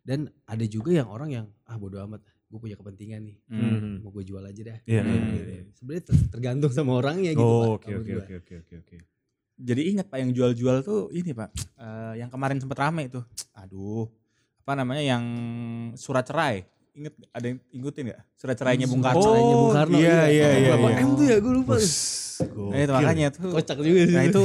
S5: Dan ada juga yang orang yang ah bodo amat, gue punya kepentingan nih,
S9: Hmm.
S5: mau gue jual aja dah.
S9: Iya.
S5: Hmm. Sebenarnya ter- tergantung sama orangnya gitu. Pak,
S9: Oh, oke
S5: kalau
S9: oke
S5: gua.
S9: oke oke oke oke.
S8: Jadi ingat Pak yang jual-jual tuh ini Pak. eh, yang kemarin sempat rame itu. Aduh. Apa namanya yang surat cerai. Ingat ada yang ingutin gak? Surat cerainya Bung Karno.
S5: Surat cerainya Bung Karno,
S9: iya iya
S5: iya.
S9: iya.
S5: Bapak
S9: iya.
S5: M tuh ya gue lupa.
S9: Oh,
S5: Eh,
S8: Nah, itu makanya tuh.
S5: Kocak juga sih.
S8: Nah itu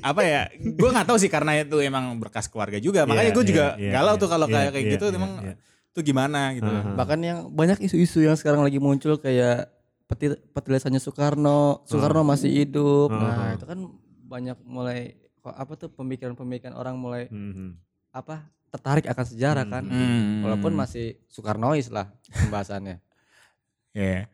S8: apa ya? Gue nggak tahu sih karena itu emang berkas keluarga juga. Makanya
S9: Iya,
S8: gue juga
S9: iya, iya,
S8: galau
S9: iya,
S8: tuh kalau
S9: iya,
S8: kayak kayak
S9: iya,
S8: gitu
S9: iya,
S8: emang
S9: iya.
S8: tuh gimana gitu.
S9: Aha.
S10: Bahkan yang banyak isu-isu yang sekarang lagi muncul kayak peti petilasannya Soekarno, Soekarno
S8: Hmm.
S10: masih hidup. Nah, itu kan banyak mulai kok apa tuh pemikiran-pemikiran orang mulai
S9: Mhm.
S10: apa tertarik akan sejarah kan.
S8: Hmm.
S10: Walaupun masih Soekarnois lah pembahasannya.
S8: Iya.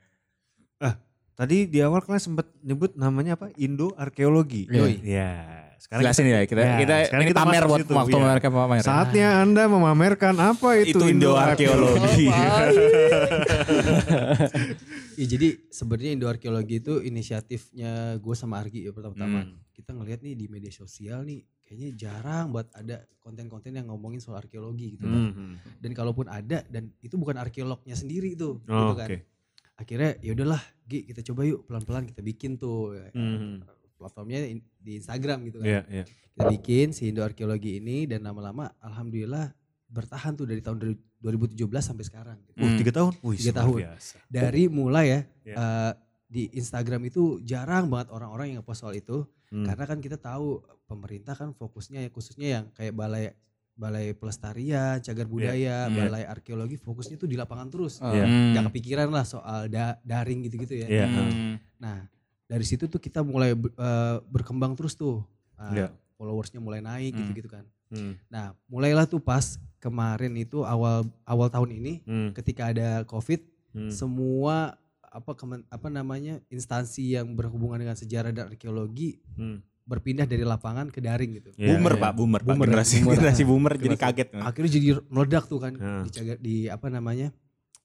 S9: Tadi di awal kalian sempat nyebut namanya apa? Indo arkeologi.
S8: Yoi.
S9: Iya. Sekarang
S8: Jelasin ya kita
S9: Ya,
S8: kita
S9: sekarang
S8: ini
S9: kita
S8: pamer
S9: masuk
S8: buat
S9: situ,
S8: waktu
S9: iya.
S8: mereka pamer. ya.
S9: saatnya Anda memamerkan apa itu,
S8: itu Indo <laughs> arkeologi.
S10: Oh,
S5: Iya jadi sebenarnya Indo Arkeologi itu inisiatifnya gue sama Argi ya pertama-tama.
S9: Hmm.
S5: Kita ngelihat nih di media sosial nih kayaknya jarang buat ada konten-konten yang ngomongin soal arkeologi <laughs> gitu kan.
S9: Mhm.
S5: Dan kalaupun ada dan itu bukan arkeolognya sendiri itu
S9: Oh,
S5: gitu kan.
S9: Oke.
S5: Akhirnya ya udahlah Gi kita coba yuk pelan-pelan kita bikin tuh
S9: Mhm.
S5: kan. platformnya in- di Instagram gitu kan.
S9: Iya iya.
S5: Kita bikin si Indo Arkeologi ini dan lama-lama alhamdulillah bertahan tuh dari tahun 2017 sampai sekarang. gitu.
S9: Uh, tiga tahun. Wih,
S5: Tiga
S9: luar
S5: tahun.
S9: Biasa.
S5: dari mulai ya
S9: Ya.
S5: eh, di Instagram itu jarang banget orang-orang yang ngepost soal itu
S9: Hmm.
S5: karena kan kita tahu pemerintah kan fokusnya ya khususnya yang kayak balai balai pelestarian cagar budaya
S8: Hmm.
S5: balai arkeologi fokusnya tuh di lapangan terus
S9: Iya.
S5: nggak kepikiran lah soal da- daring gitu-gitu ya
S9: Iya.
S8: Hmm.
S5: nah dari situ tuh kita mulai ber- eh, berkembang terus tuh Eh,
S9: Ya.
S5: followersnya mulai naik
S8: Hmm.
S5: gitu-gitu kan
S9: Hmm.
S5: nah mulailah tuh pas kemarin itu awal awal tahun ini
S9: Hmm.
S5: ketika ada covid
S9: Hmm.
S5: semua apa kemen- apa namanya instansi yang berhubungan dengan sejarah dan arkeologi
S9: Hmm.
S5: berpindah dari lapangan ke daring gitu.
S9: Iya,
S8: boomer
S9: iya.
S8: Pak, boomer, Pak.
S5: Boomer,
S8: generasi
S5: boomer.
S8: generasi boomer jadi
S5: Generasi-
S8: kaget.
S5: Akhirnya jadi meledak tuh kan
S9: Ya.
S5: di, cagar- di apa namanya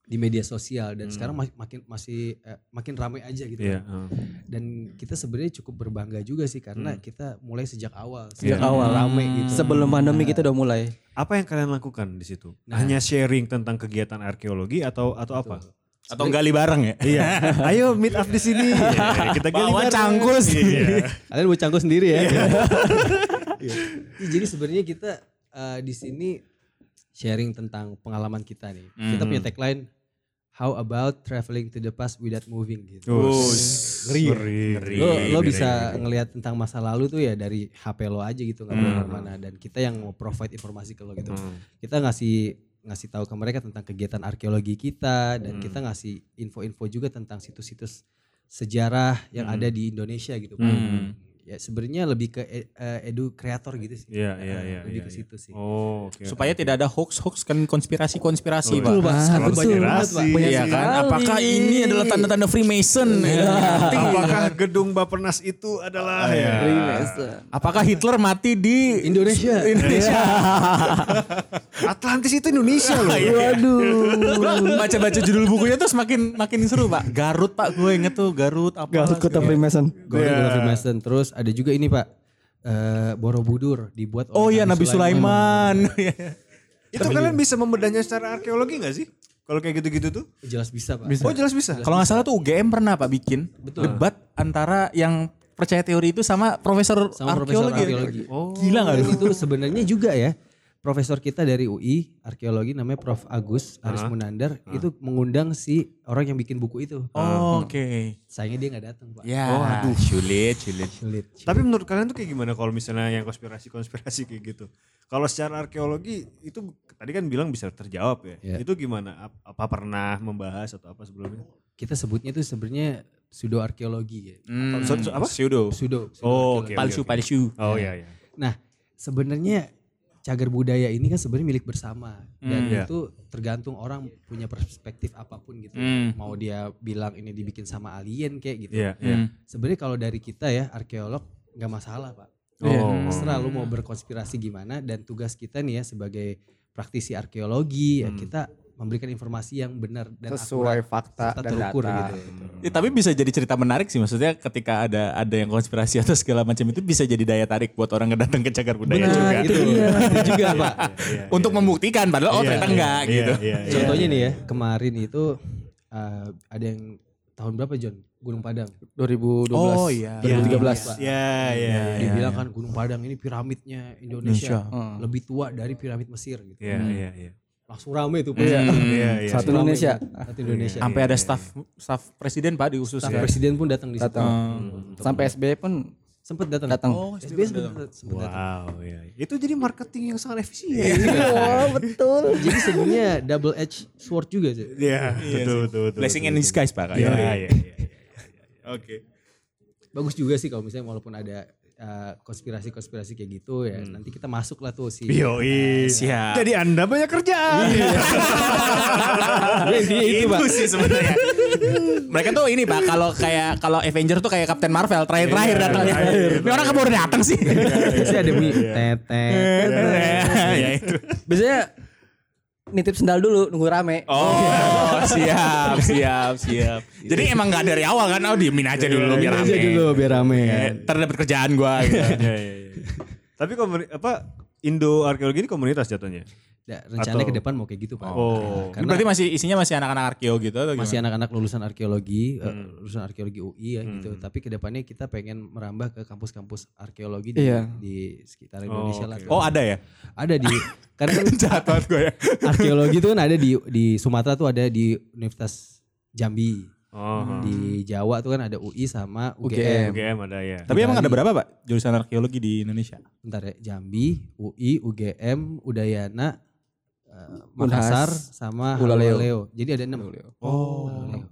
S5: di media sosial dan
S9: Hmm.
S5: sekarang ma- makin masih eh, makin ramai aja gitu.
S9: Iya.
S5: kan.
S9: heeh.
S5: Dan kita sebenarnya cukup berbangga juga sih karena
S9: Hmm.
S5: kita mulai sejak awal,
S9: Sejak
S10: awal.
S5: ramai
S9: Hmm.
S8: Hmm.
S5: gitu.
S10: Sebelum pandemi kita udah mulai.
S9: Apa yang kalian lakukan di situ?
S5: Nah.
S9: Hanya sharing tentang kegiatan arkeologi atau atau apa?
S8: Atau gali bareng ya? <laughs>
S9: Iya. Ayo meet up di
S5: <laughs>
S9: sini. Iya, kita gali bareng.
S8: Bawa cangkul sendiri.
S9: Iya.
S5: Kalian buat cangkul sendiri ya. <laughs> Iya. Iya, Jadi sebenarnya kita eh, di sini sharing tentang pengalaman kita nih. Kita punya tagline How about traveling to the past without moving gitu.
S9: Us.
S5: Ngeri ya?
S9: Ngeri, ngeri,
S5: Lo, lo
S9: ngeri,
S5: bisa
S9: ngeri.
S5: ngelihat tentang masa lalu tuh ya dari HP lo aja gitu nggak hmm. mana dan kita yang mau provide informasi ke lo gitu. Kita ngasih ngasih tahu ke mereka tentang kegiatan arkeologi kita dan kita ngasih info-info juga tentang situs-situs sejarah yang ada di Indonesia gitu. Ya sebenarnya lebih ke e- eh, edu kreator gitu sih.
S9: Iya,
S5: Nah,
S9: iya, iya,
S5: Lebih
S9: iya,
S5: ke
S9: iya.
S5: situ sih.
S9: Oh, oke.
S8: Supaya tidak ada hoax-hoax kan konspirasi-konspirasi, Pak.
S5: Betul, Pak.
S10: Ah,
S5: Satu
S10: betul.
S5: banyak banget, Pak.
S9: Banyak
S8: Iya kan? Apakah ini adalah tanda-tanda Freemason? Iya. Nanti.
S9: Apakah gedung Bapenas itu
S5: Ah,
S9: adalah
S5: iya.
S9: ya?
S8: Apakah Hitler mati di
S5: Indonesia.
S8: Indonesia?
S9: Atlantis itu Indonesia loh.
S5: <laughs> Iya.
S8: Waduh. baca-baca judul bukunya tuh semakin makin seru, Pak. Garut, Pak. Gue inget tuh Garut apa.
S10: Garut Kota Freemason.
S5: Gordon Gordon Freemason. Terus ada juga ini Pak. eh, Borobudur dibuat
S8: Oh iya Nabi Sulaiman. <laughs>
S9: itu kalian bisa membedanya secara arkeologi gak sih? Kalau kayak gitu-gitu tuh?
S5: Jelas bisa Pak.
S9: Oh jelas bisa.
S8: Kalau nggak salah tuh UGM pernah Pak bikin debat antara yang percaya teori itu sama profesor
S5: Sama profesor
S8: arkeologi. Oh.
S5: arkeologi.
S8: Gila nggak
S5: Dan
S8: tuh?
S5: itu sebenarnya juga ya. Profesor kita dari UI arkeologi namanya Prof Agus
S8: Ah.
S5: Aris Munandar itu mengundang si orang yang bikin buku itu.
S8: Oh, Oke.
S5: Sayangnya dia nggak datang Pak.
S8: Ya. Oh, aduh. Sulit, sulit.
S5: Sulit.
S9: Tapi menurut kalian tuh kayak gimana kalau misalnya yang konspirasi-konspirasi kayak gitu? Kalau secara arkeologi itu tadi kan bilang bisa terjawab ya.
S5: Iya.
S9: Itu gimana? Ap- Apa pernah membahas atau apa sebelumnya?
S5: Kita sebutnya itu sebenarnya pseudo arkeologi ya.
S8: Hmm.
S9: So- so- apa?
S8: Pseudo.
S5: Pseudo.
S9: Oh,
S5: pseudoarkeologi.
S9: oke.
S8: Palsu, palsu.
S9: Oh iya iya.
S5: Nah, sebenarnya cagar budaya ini kan sebenarnya milik bersama
S9: Hmm,
S5: dan
S9: iya.
S8: ya.
S5: itu tergantung orang punya perspektif apapun gitu.
S8: Hmm.
S5: Mau dia bilang ini dibikin sama alien kayak gitu.
S9: Iya
S8: Ya.
S9: iya.
S5: Sebenarnya kalau dari kita ya arkeolog nggak masalah pak.
S9: Oh.
S5: Terserah lu mau berkonspirasi gimana dan tugas kita nih ya sebagai praktisi arkeologi ya kita memberikan informasi yang benar dan
S1: sesuai
S5: akurat
S1: fakta
S5: serta
S1: dan
S5: terukur
S1: data.
S5: gitu.
S8: Ya, tapi bisa jadi cerita menarik sih maksudnya ketika ada ada yang konspirasi atau segala macam itu bisa jadi daya tarik buat orang yang datang ke cagar budaya juga.
S5: Benar, itu dia. juga
S9: Iya,
S5: Pak.
S8: Untuk membuktikan padahal oh ternyata enggak gitu.
S9: <laughs> iya.
S5: Contohnya nih ya, kemarin itu eh, ada yang tahun berapa John? Gunung Padang.
S10: 2012.
S8: Oh, iya.
S10: 2013 Pak.
S9: Ya, ya, ya.
S5: Dibilang kan Gunung Padang ini piramidnya
S8: Indonesia.
S5: Indonesia
S10: Hmm.
S5: lebih tua dari piramid Mesir gitu.
S9: Ya, ya, ya.
S5: Langsung rame itu Pak.
S9: Iya, iya.
S10: Satu Indonesia.
S5: Satu Indonesia.
S8: Sampai ada staff staff presiden Pak ya.
S5: Staf
S8: diususkan.
S5: presiden pun datang di situ. Hmm.
S10: Datang.
S8: Hmm.
S10: Hmm. Sampai SBY pun
S5: Sempet datang.
S10: Datang.
S5: Oh, SBS sempet sempet datang.
S9: Wow, Iya, ya. Itu jadi marketing yang sangat efisien.
S8: Iya.
S10: <laughs>
S5: Jadi sebenarnya double edge sword juga sih.
S9: Iya, betul, betul, betul.
S8: Blessing in
S9: betul,
S8: disguise
S9: betul.
S8: Pak.
S9: Iya,
S8: kayaknya.
S9: iya, iya. iya.
S8: Oke.
S5: bagus juga sih kalau misalnya walaupun ada uh, konspirasi-konspirasi kayak gitu ya
S8: Hmm.
S5: nanti kita masuk lah tuh
S8: Iya.
S5: si
S9: Yoi.
S8: Siap. <laughs>
S9: Jadi Anda banyak kerjaan.
S5: Sebenarnya intinya itu pak
S8: Iya. sih sebenarnya. iya, Mereka tuh ini Pak kalau kayak kalau Avenger tuh kayak Captain Marvel terakhir-terakhir datang.
S9: terakhir.
S8: Ini orang baru datang sih. Iya,
S5: biasanya ada bunyi tetet
S8: Ya itu.
S10: biasanya nitip sendal dulu nunggu rame.
S8: <laughs> Oh, siap, siap, siap. iya, Jadi emang nggak dari awal kan? Oh, diemin aja dulu biar
S5: aja
S8: rame.
S5: dulu biar rame
S8: Eh, Ntar dapat kerjaan gua gitu.
S9: Iya, iya, iya. Tapi komuni- apa Indo arkeologi ini komunitas jatuhnya.
S5: Nah, rencananya
S9: Atau-
S5: ke depan mau kayak gitu pak
S9: Oh.
S5: Nah, karena
S8: Berarti masih isinya masih anak-anak arkeo gitu atau
S5: masih
S8: gimana? Hmm.
S5: anak-anak lulusan arkeologi eh, lulusan arkeologi UI ya gitu tapi ke depannya kita pengen merambah ke kampus-kampus arkeologi di,
S10: Iya.
S5: di sekitar Indonesia lah
S8: Oh, ada ya?
S5: ada di karena kan
S8: <laughs> Jahat banget gua ya.
S5: arkeologi itu kan ada di di Sumatera tuh ada di Universitas Jambi
S9: Oh.
S10: Hmm.
S5: di Jawa tuh kan ada UI sama UGM.
S10: UGM.
S9: UGM ada ya.
S8: Tapi emang ada berapa, Pak? Jurusan arkeologi di Indonesia?
S5: Bentar ya, Jambi, UI, UGM, Udayana, eh, Makassar sama
S10: Ulaleo.
S5: Ulaleo. Jadi ada enam.
S8: Oh.
S5: Ulaleo.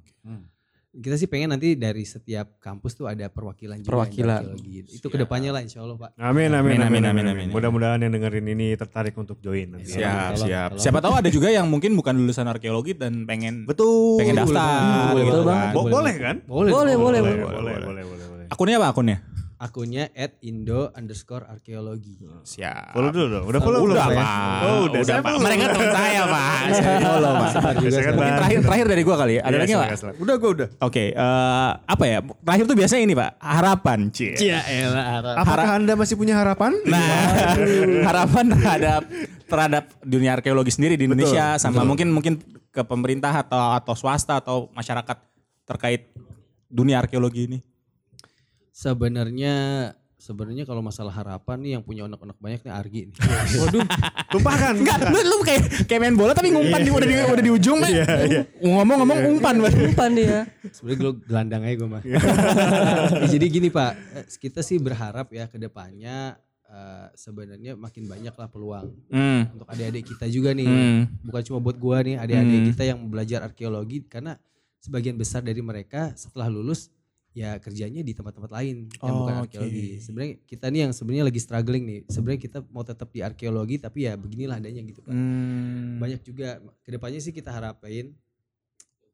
S5: Kita sih pengen nanti dari setiap kampus tuh ada perwakilan juga
S10: Perwakilan.
S5: yang arkeologi. Itu kedepannya lah insya Allah Pak.
S9: Amin amin amin
S8: Amin,
S9: amin.
S8: amin, amin,
S9: amin.
S8: amin.
S9: Mudah-mudahan yang dengerin ini tertarik untuk join nanti. ya.
S8: Siap,
S5: Tolong,
S8: siap.
S5: tolong.
S8: Siapa tahu ada juga yang mungkin bukan lulusan arkeologi dan pengen
S9: Betul.
S8: pengen daftar
S5: Boleh,
S8: gitu
S5: boleh
S8: kan.
S9: Bo- boleh kan?
S5: Boleh.
S10: Boleh,
S9: boleh,
S10: boleh, boleh.
S9: boleh, boleh, boleh, boleh.
S8: Akunnya apa akunnya?
S5: Akunnya at indo underscore arkeologi.
S8: Siap.
S9: Follow dulu dong. Udah follow
S8: udah,
S9: belum?
S8: Pak.
S9: Oh, udah.
S8: udah,
S9: Saya
S8: Pak.
S9: follow.
S8: Mereka teman saya, Pak. Saya follow, Pak.
S9: Saya kan
S8: Mungkin
S9: bahan.
S8: terakhir terakhir dari gua kali ya. Ada
S9: Iya,
S8: lagi nggak?
S9: silakan, silakan.
S8: Udah, gua udah. Oke, eh, apa ya? Terakhir tuh biasanya ini, Pak. Harapan, Cie.
S9: Apakah Anda masih punya harapan?
S8: Nah, harapan terhadap terhadap dunia arkeologi sendiri di Indonesia sama mungkin mungkin ke pemerintah atau atau swasta atau masyarakat terkait dunia arkeologi ini.
S5: Sebenarnya sebenarnya kalau masalah harapan nih yang punya anak-anak banyak nih Argi
S8: <laughs>
S5: nih.
S9: Waduh, tumpahkan.
S8: Enggak, lu, lu kayak kayak main bola tapi ngumpan di udah di udah di ujung Pak. Ngomong-ngomong umpan Pak.
S10: Umpan dia.
S5: Sebenarnya gue gelandang aja gue mah.
S8: Iya.
S5: Ya, jadi gini Pak, eh, kita sih berharap ya ke depannya eh, sebenarnya makin banyak lah peluang
S8: Hmm.
S5: untuk adik-adik kita juga nih.
S8: Hmm.
S5: Bukan cuma buat gua nih, adik-adik
S8: Hmm.
S5: kita yang belajar arkeologi karena sebagian besar dari mereka setelah lulus ya kerjanya di tempat-tempat lain yang bukan
S8: Oh, oke.
S5: arkeologi. Sebenarnya kita nih yang sebenarnya lagi struggling nih. Sebenarnya kita mau tetap di arkeologi tapi ya beginilah adanya gitu Pak
S8: Hmm.
S5: banyak juga kedepannya sih kita harapin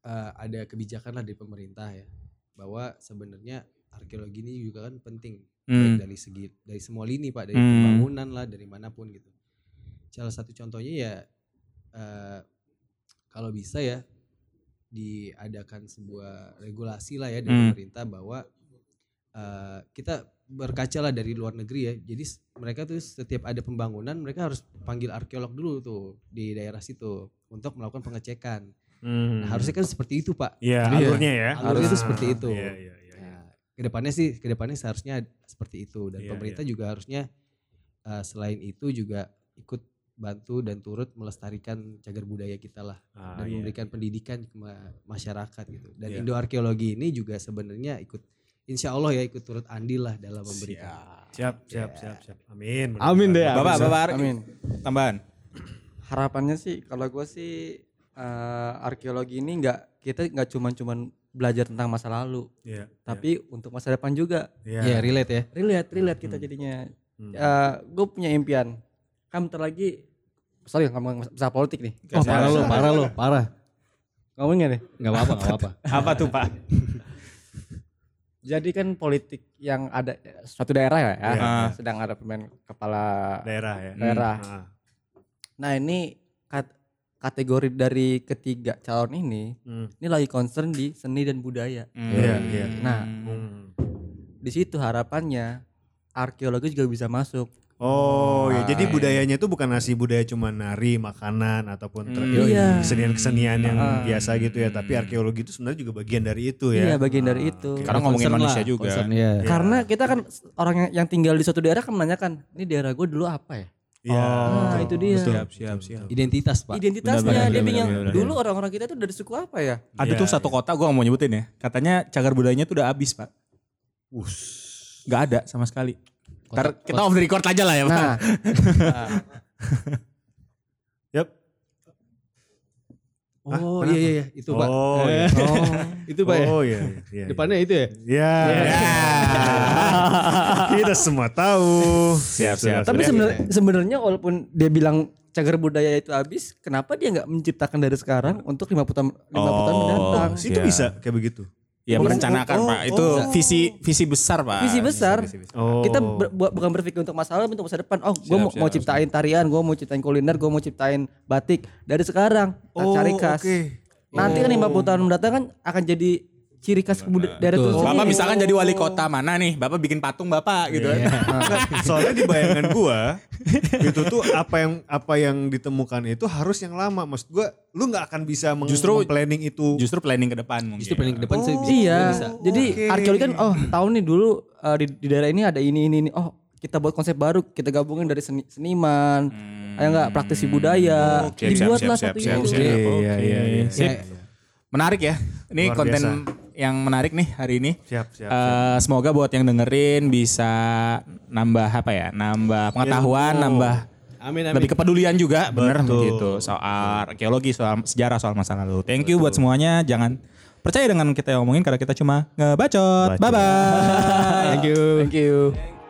S5: eh, ada kebijakan lah dari pemerintah ya bahwa sebenarnya arkeologi ini juga kan penting baik
S8: Hmm.
S5: dari segi dari semua lini pak dari
S8: Hmm.
S5: pembangunan lah dari manapun gitu salah satu contohnya ya eh, kalau bisa ya diadakan sebuah regulasi lah ya dari
S8: Hmm.
S5: pemerintah bahwa eh, kita berkaca lah dari luar negeri ya jadi s- mereka tuh setiap ada pembangunan mereka harus panggil arkeolog dulu tuh di daerah situ untuk melakukan pengecekan nah, harusnya
S8: Hmm.
S5: kan seperti itu pak
S9: Hmm. Iya,
S10: Iya.
S9: alurnya ya.
S5: Alurnya itu seperti itu.
S9: Iya, iya, iya.
S5: Nah, kedepannya sih, kedepannya seharusnya seperti itu dan
S9: Iya,
S5: pemerintah juga harusnya uh, selain itu juga ikut bantu dan turut melestarikan cagar budaya kita lah
S9: Ah,
S5: dan
S9: iya.
S5: memberikan pendidikan ke ma- masyarakat gitu. Dan
S9: Iya.
S5: Indo arkeologi ini juga sebenarnya ikut, insya Allah ya ikut turut andil lah dalam memberikan.
S9: Siap, siap, siap, siap. Amin.
S8: Bapak, Bapak Ari,
S10: Amin.
S8: tambahan.
S10: Harapannya sih kalau gue sih eh, arkeologi ini nggak kita nggak cuman-cuman belajar tentang masa lalu,
S9: Iya.
S10: tapi untuk masa depan juga.
S9: Iya.
S5: Ya relate ya.
S10: Relate, relate kita
S9: Hmm.
S10: jadinya. gue punya impian. Kamu bentar lagi sorry ngomong masalah politik nih.
S5: Oh, parah lo, parah lo, parah.
S10: Ngomongnya nih.
S5: Gak apa-apa, gak apa-apa.
S8: Apa tuh, Pak?
S10: Jadi kan politik yang ada suatu daerah ya, ya,
S9: Iya.
S10: sedang ada pemain kepala
S9: Daerah ya.
S10: daerah.
S9: Ah.
S10: Nah ini kat- kategori dari ketiga calon ini
S9: Hmm.
S10: ini lagi concern di seni dan budaya.
S9: Iya, iya.
S10: Nah,
S9: Hmm.
S10: Di situ harapannya arkeologi juga bisa masuk.
S9: Oh ya, jadi
S10: Nah.
S9: budayanya itu bukan nasi budaya cuma nari, makanan ataupun ter-
S8: Hmm.
S10: Iya.
S9: kesenian-kesenian yang
S10: Ah.
S9: biasa gitu ya. Tapi arkeologi itu sebenarnya juga bagian dari itu ya.
S10: Iya, bagian dari
S9: Ah,
S10: itu.
S9: oke.
S8: Karena ngomongin
S5: Concern
S8: manusia
S5: lah,
S8: juga.
S5: concern, iya.
S9: Iya.
S10: Karena kita kan s- orang yang, yang tinggal di suatu daerah kan menanyakan, ini daerah gue dulu apa ya?
S9: Iya.
S10: Nah, itu dia.
S8: Oh, Siap, siap, siap.
S5: Identitas pak.
S10: Identitasnya,
S8: Benar-benar,
S10: dia
S8: benar-benar,
S10: bingung.
S8: benar-benar.
S10: Dulu orang-orang kita tuh dari suku apa ya?
S8: Ada tuh
S9: Iya,
S8: satu kota gue gak mau nyebutin ya. Katanya cagar budayanya tuh udah habis pak.
S9: Us.
S8: Gak ada sama sekali.
S5: Kota-
S8: Ntar kita off the record aja lah ya pak.
S10: Nah,
S9: Yap.
S5: <laughs> Oh iya iya iya. itu pak.
S9: Oh, iya.
S5: <laughs> itu pak ya.
S9: Oh iya. iya, iya.
S5: Depannya itu ya.
S9: Ya.
S8: Iya.
S9: <laughs> Kita semua tahu.
S8: Siap, siap.
S10: tapi
S8: Sudah.
S10: sebenar- sebenarnya walaupun dia bilang cagar budaya itu habis, kenapa dia nggak menciptakan dari sekarang untuk 50 tahun 50 tahun
S8: Oh.
S10: mendatang?
S9: Itu
S8: Siap.
S9: bisa kayak begitu.
S8: Ya
S10: Oh,
S8: merencanakan
S10: oh,
S8: pak.
S10: oh,
S8: Itu
S10: bisa.
S8: visi visi besar pak.
S10: Visi besar.
S8: Visi- visi besar.
S9: Oh.
S10: Kita ber- bu- bukan berpikir untuk masalah, tapi untuk masa depan. Oh, gue
S8: Siap,
S10: mau, mau
S8: siap,
S10: ciptain tarian, gue mau ciptain kuliner, gue mau ciptain batik dari sekarang.
S9: Oh,
S10: cari khas.
S9: oke.
S10: Nanti kan
S9: Oh.
S10: 50 tahun mendatang kan akan jadi ciri khas kebudayaan daerah itu
S5: Betul.
S8: Bapak
S10: sendiri.
S8: misalkan jadi wali kota mana nih? Bapak bikin patung bapak gitu.
S5: Iya.
S8: kan.
S9: Iya. Soalnya di bayangan gua itu tuh apa yang apa yang ditemukan itu harus yang lama. Maksud gua lu nggak akan bisa meng-
S8: Justru-
S9: planning itu.
S8: Justru planning ke depan mungkin.
S5: Justru paling ke depan saya bisa.
S10: Iya.
S5: bisa.
S10: Jadi
S9: Oke.
S10: arkeologi kan oh tahun nih dulu uh, di, di daerah ini ada ini ini ini. Oh kita buat konsep baru kita gabungin dari seni- seniman, ayo nggak praktisi budaya,
S8: Hmm. Oke, siap,
S10: dibuatlah
S8: siap,
S10: satu
S8: siap,
S10: itu.
S8: siap, siap.
S9: Iya, iya, iya.
S8: Sip. Menarik ya. Ini
S9: Luar
S8: konten yang menarik nih hari ini.
S9: Siap, siap,
S8: Eh, semoga buat yang dengerin bisa nambah apa ya? Nambah pengetahuan,
S9: Ilmu.
S8: nambah
S5: Amin amin.
S8: lebih kepedulian juga, bener
S9: Betul.
S8: begitu. Soal arkeologi, soal sejarah, soal masa lalu. Thank you buat semuanya. Jangan percaya dengan kita yang omongin karena kita cuma ngebacot. Bye bye.
S5: Thank you.
S10: Thank you.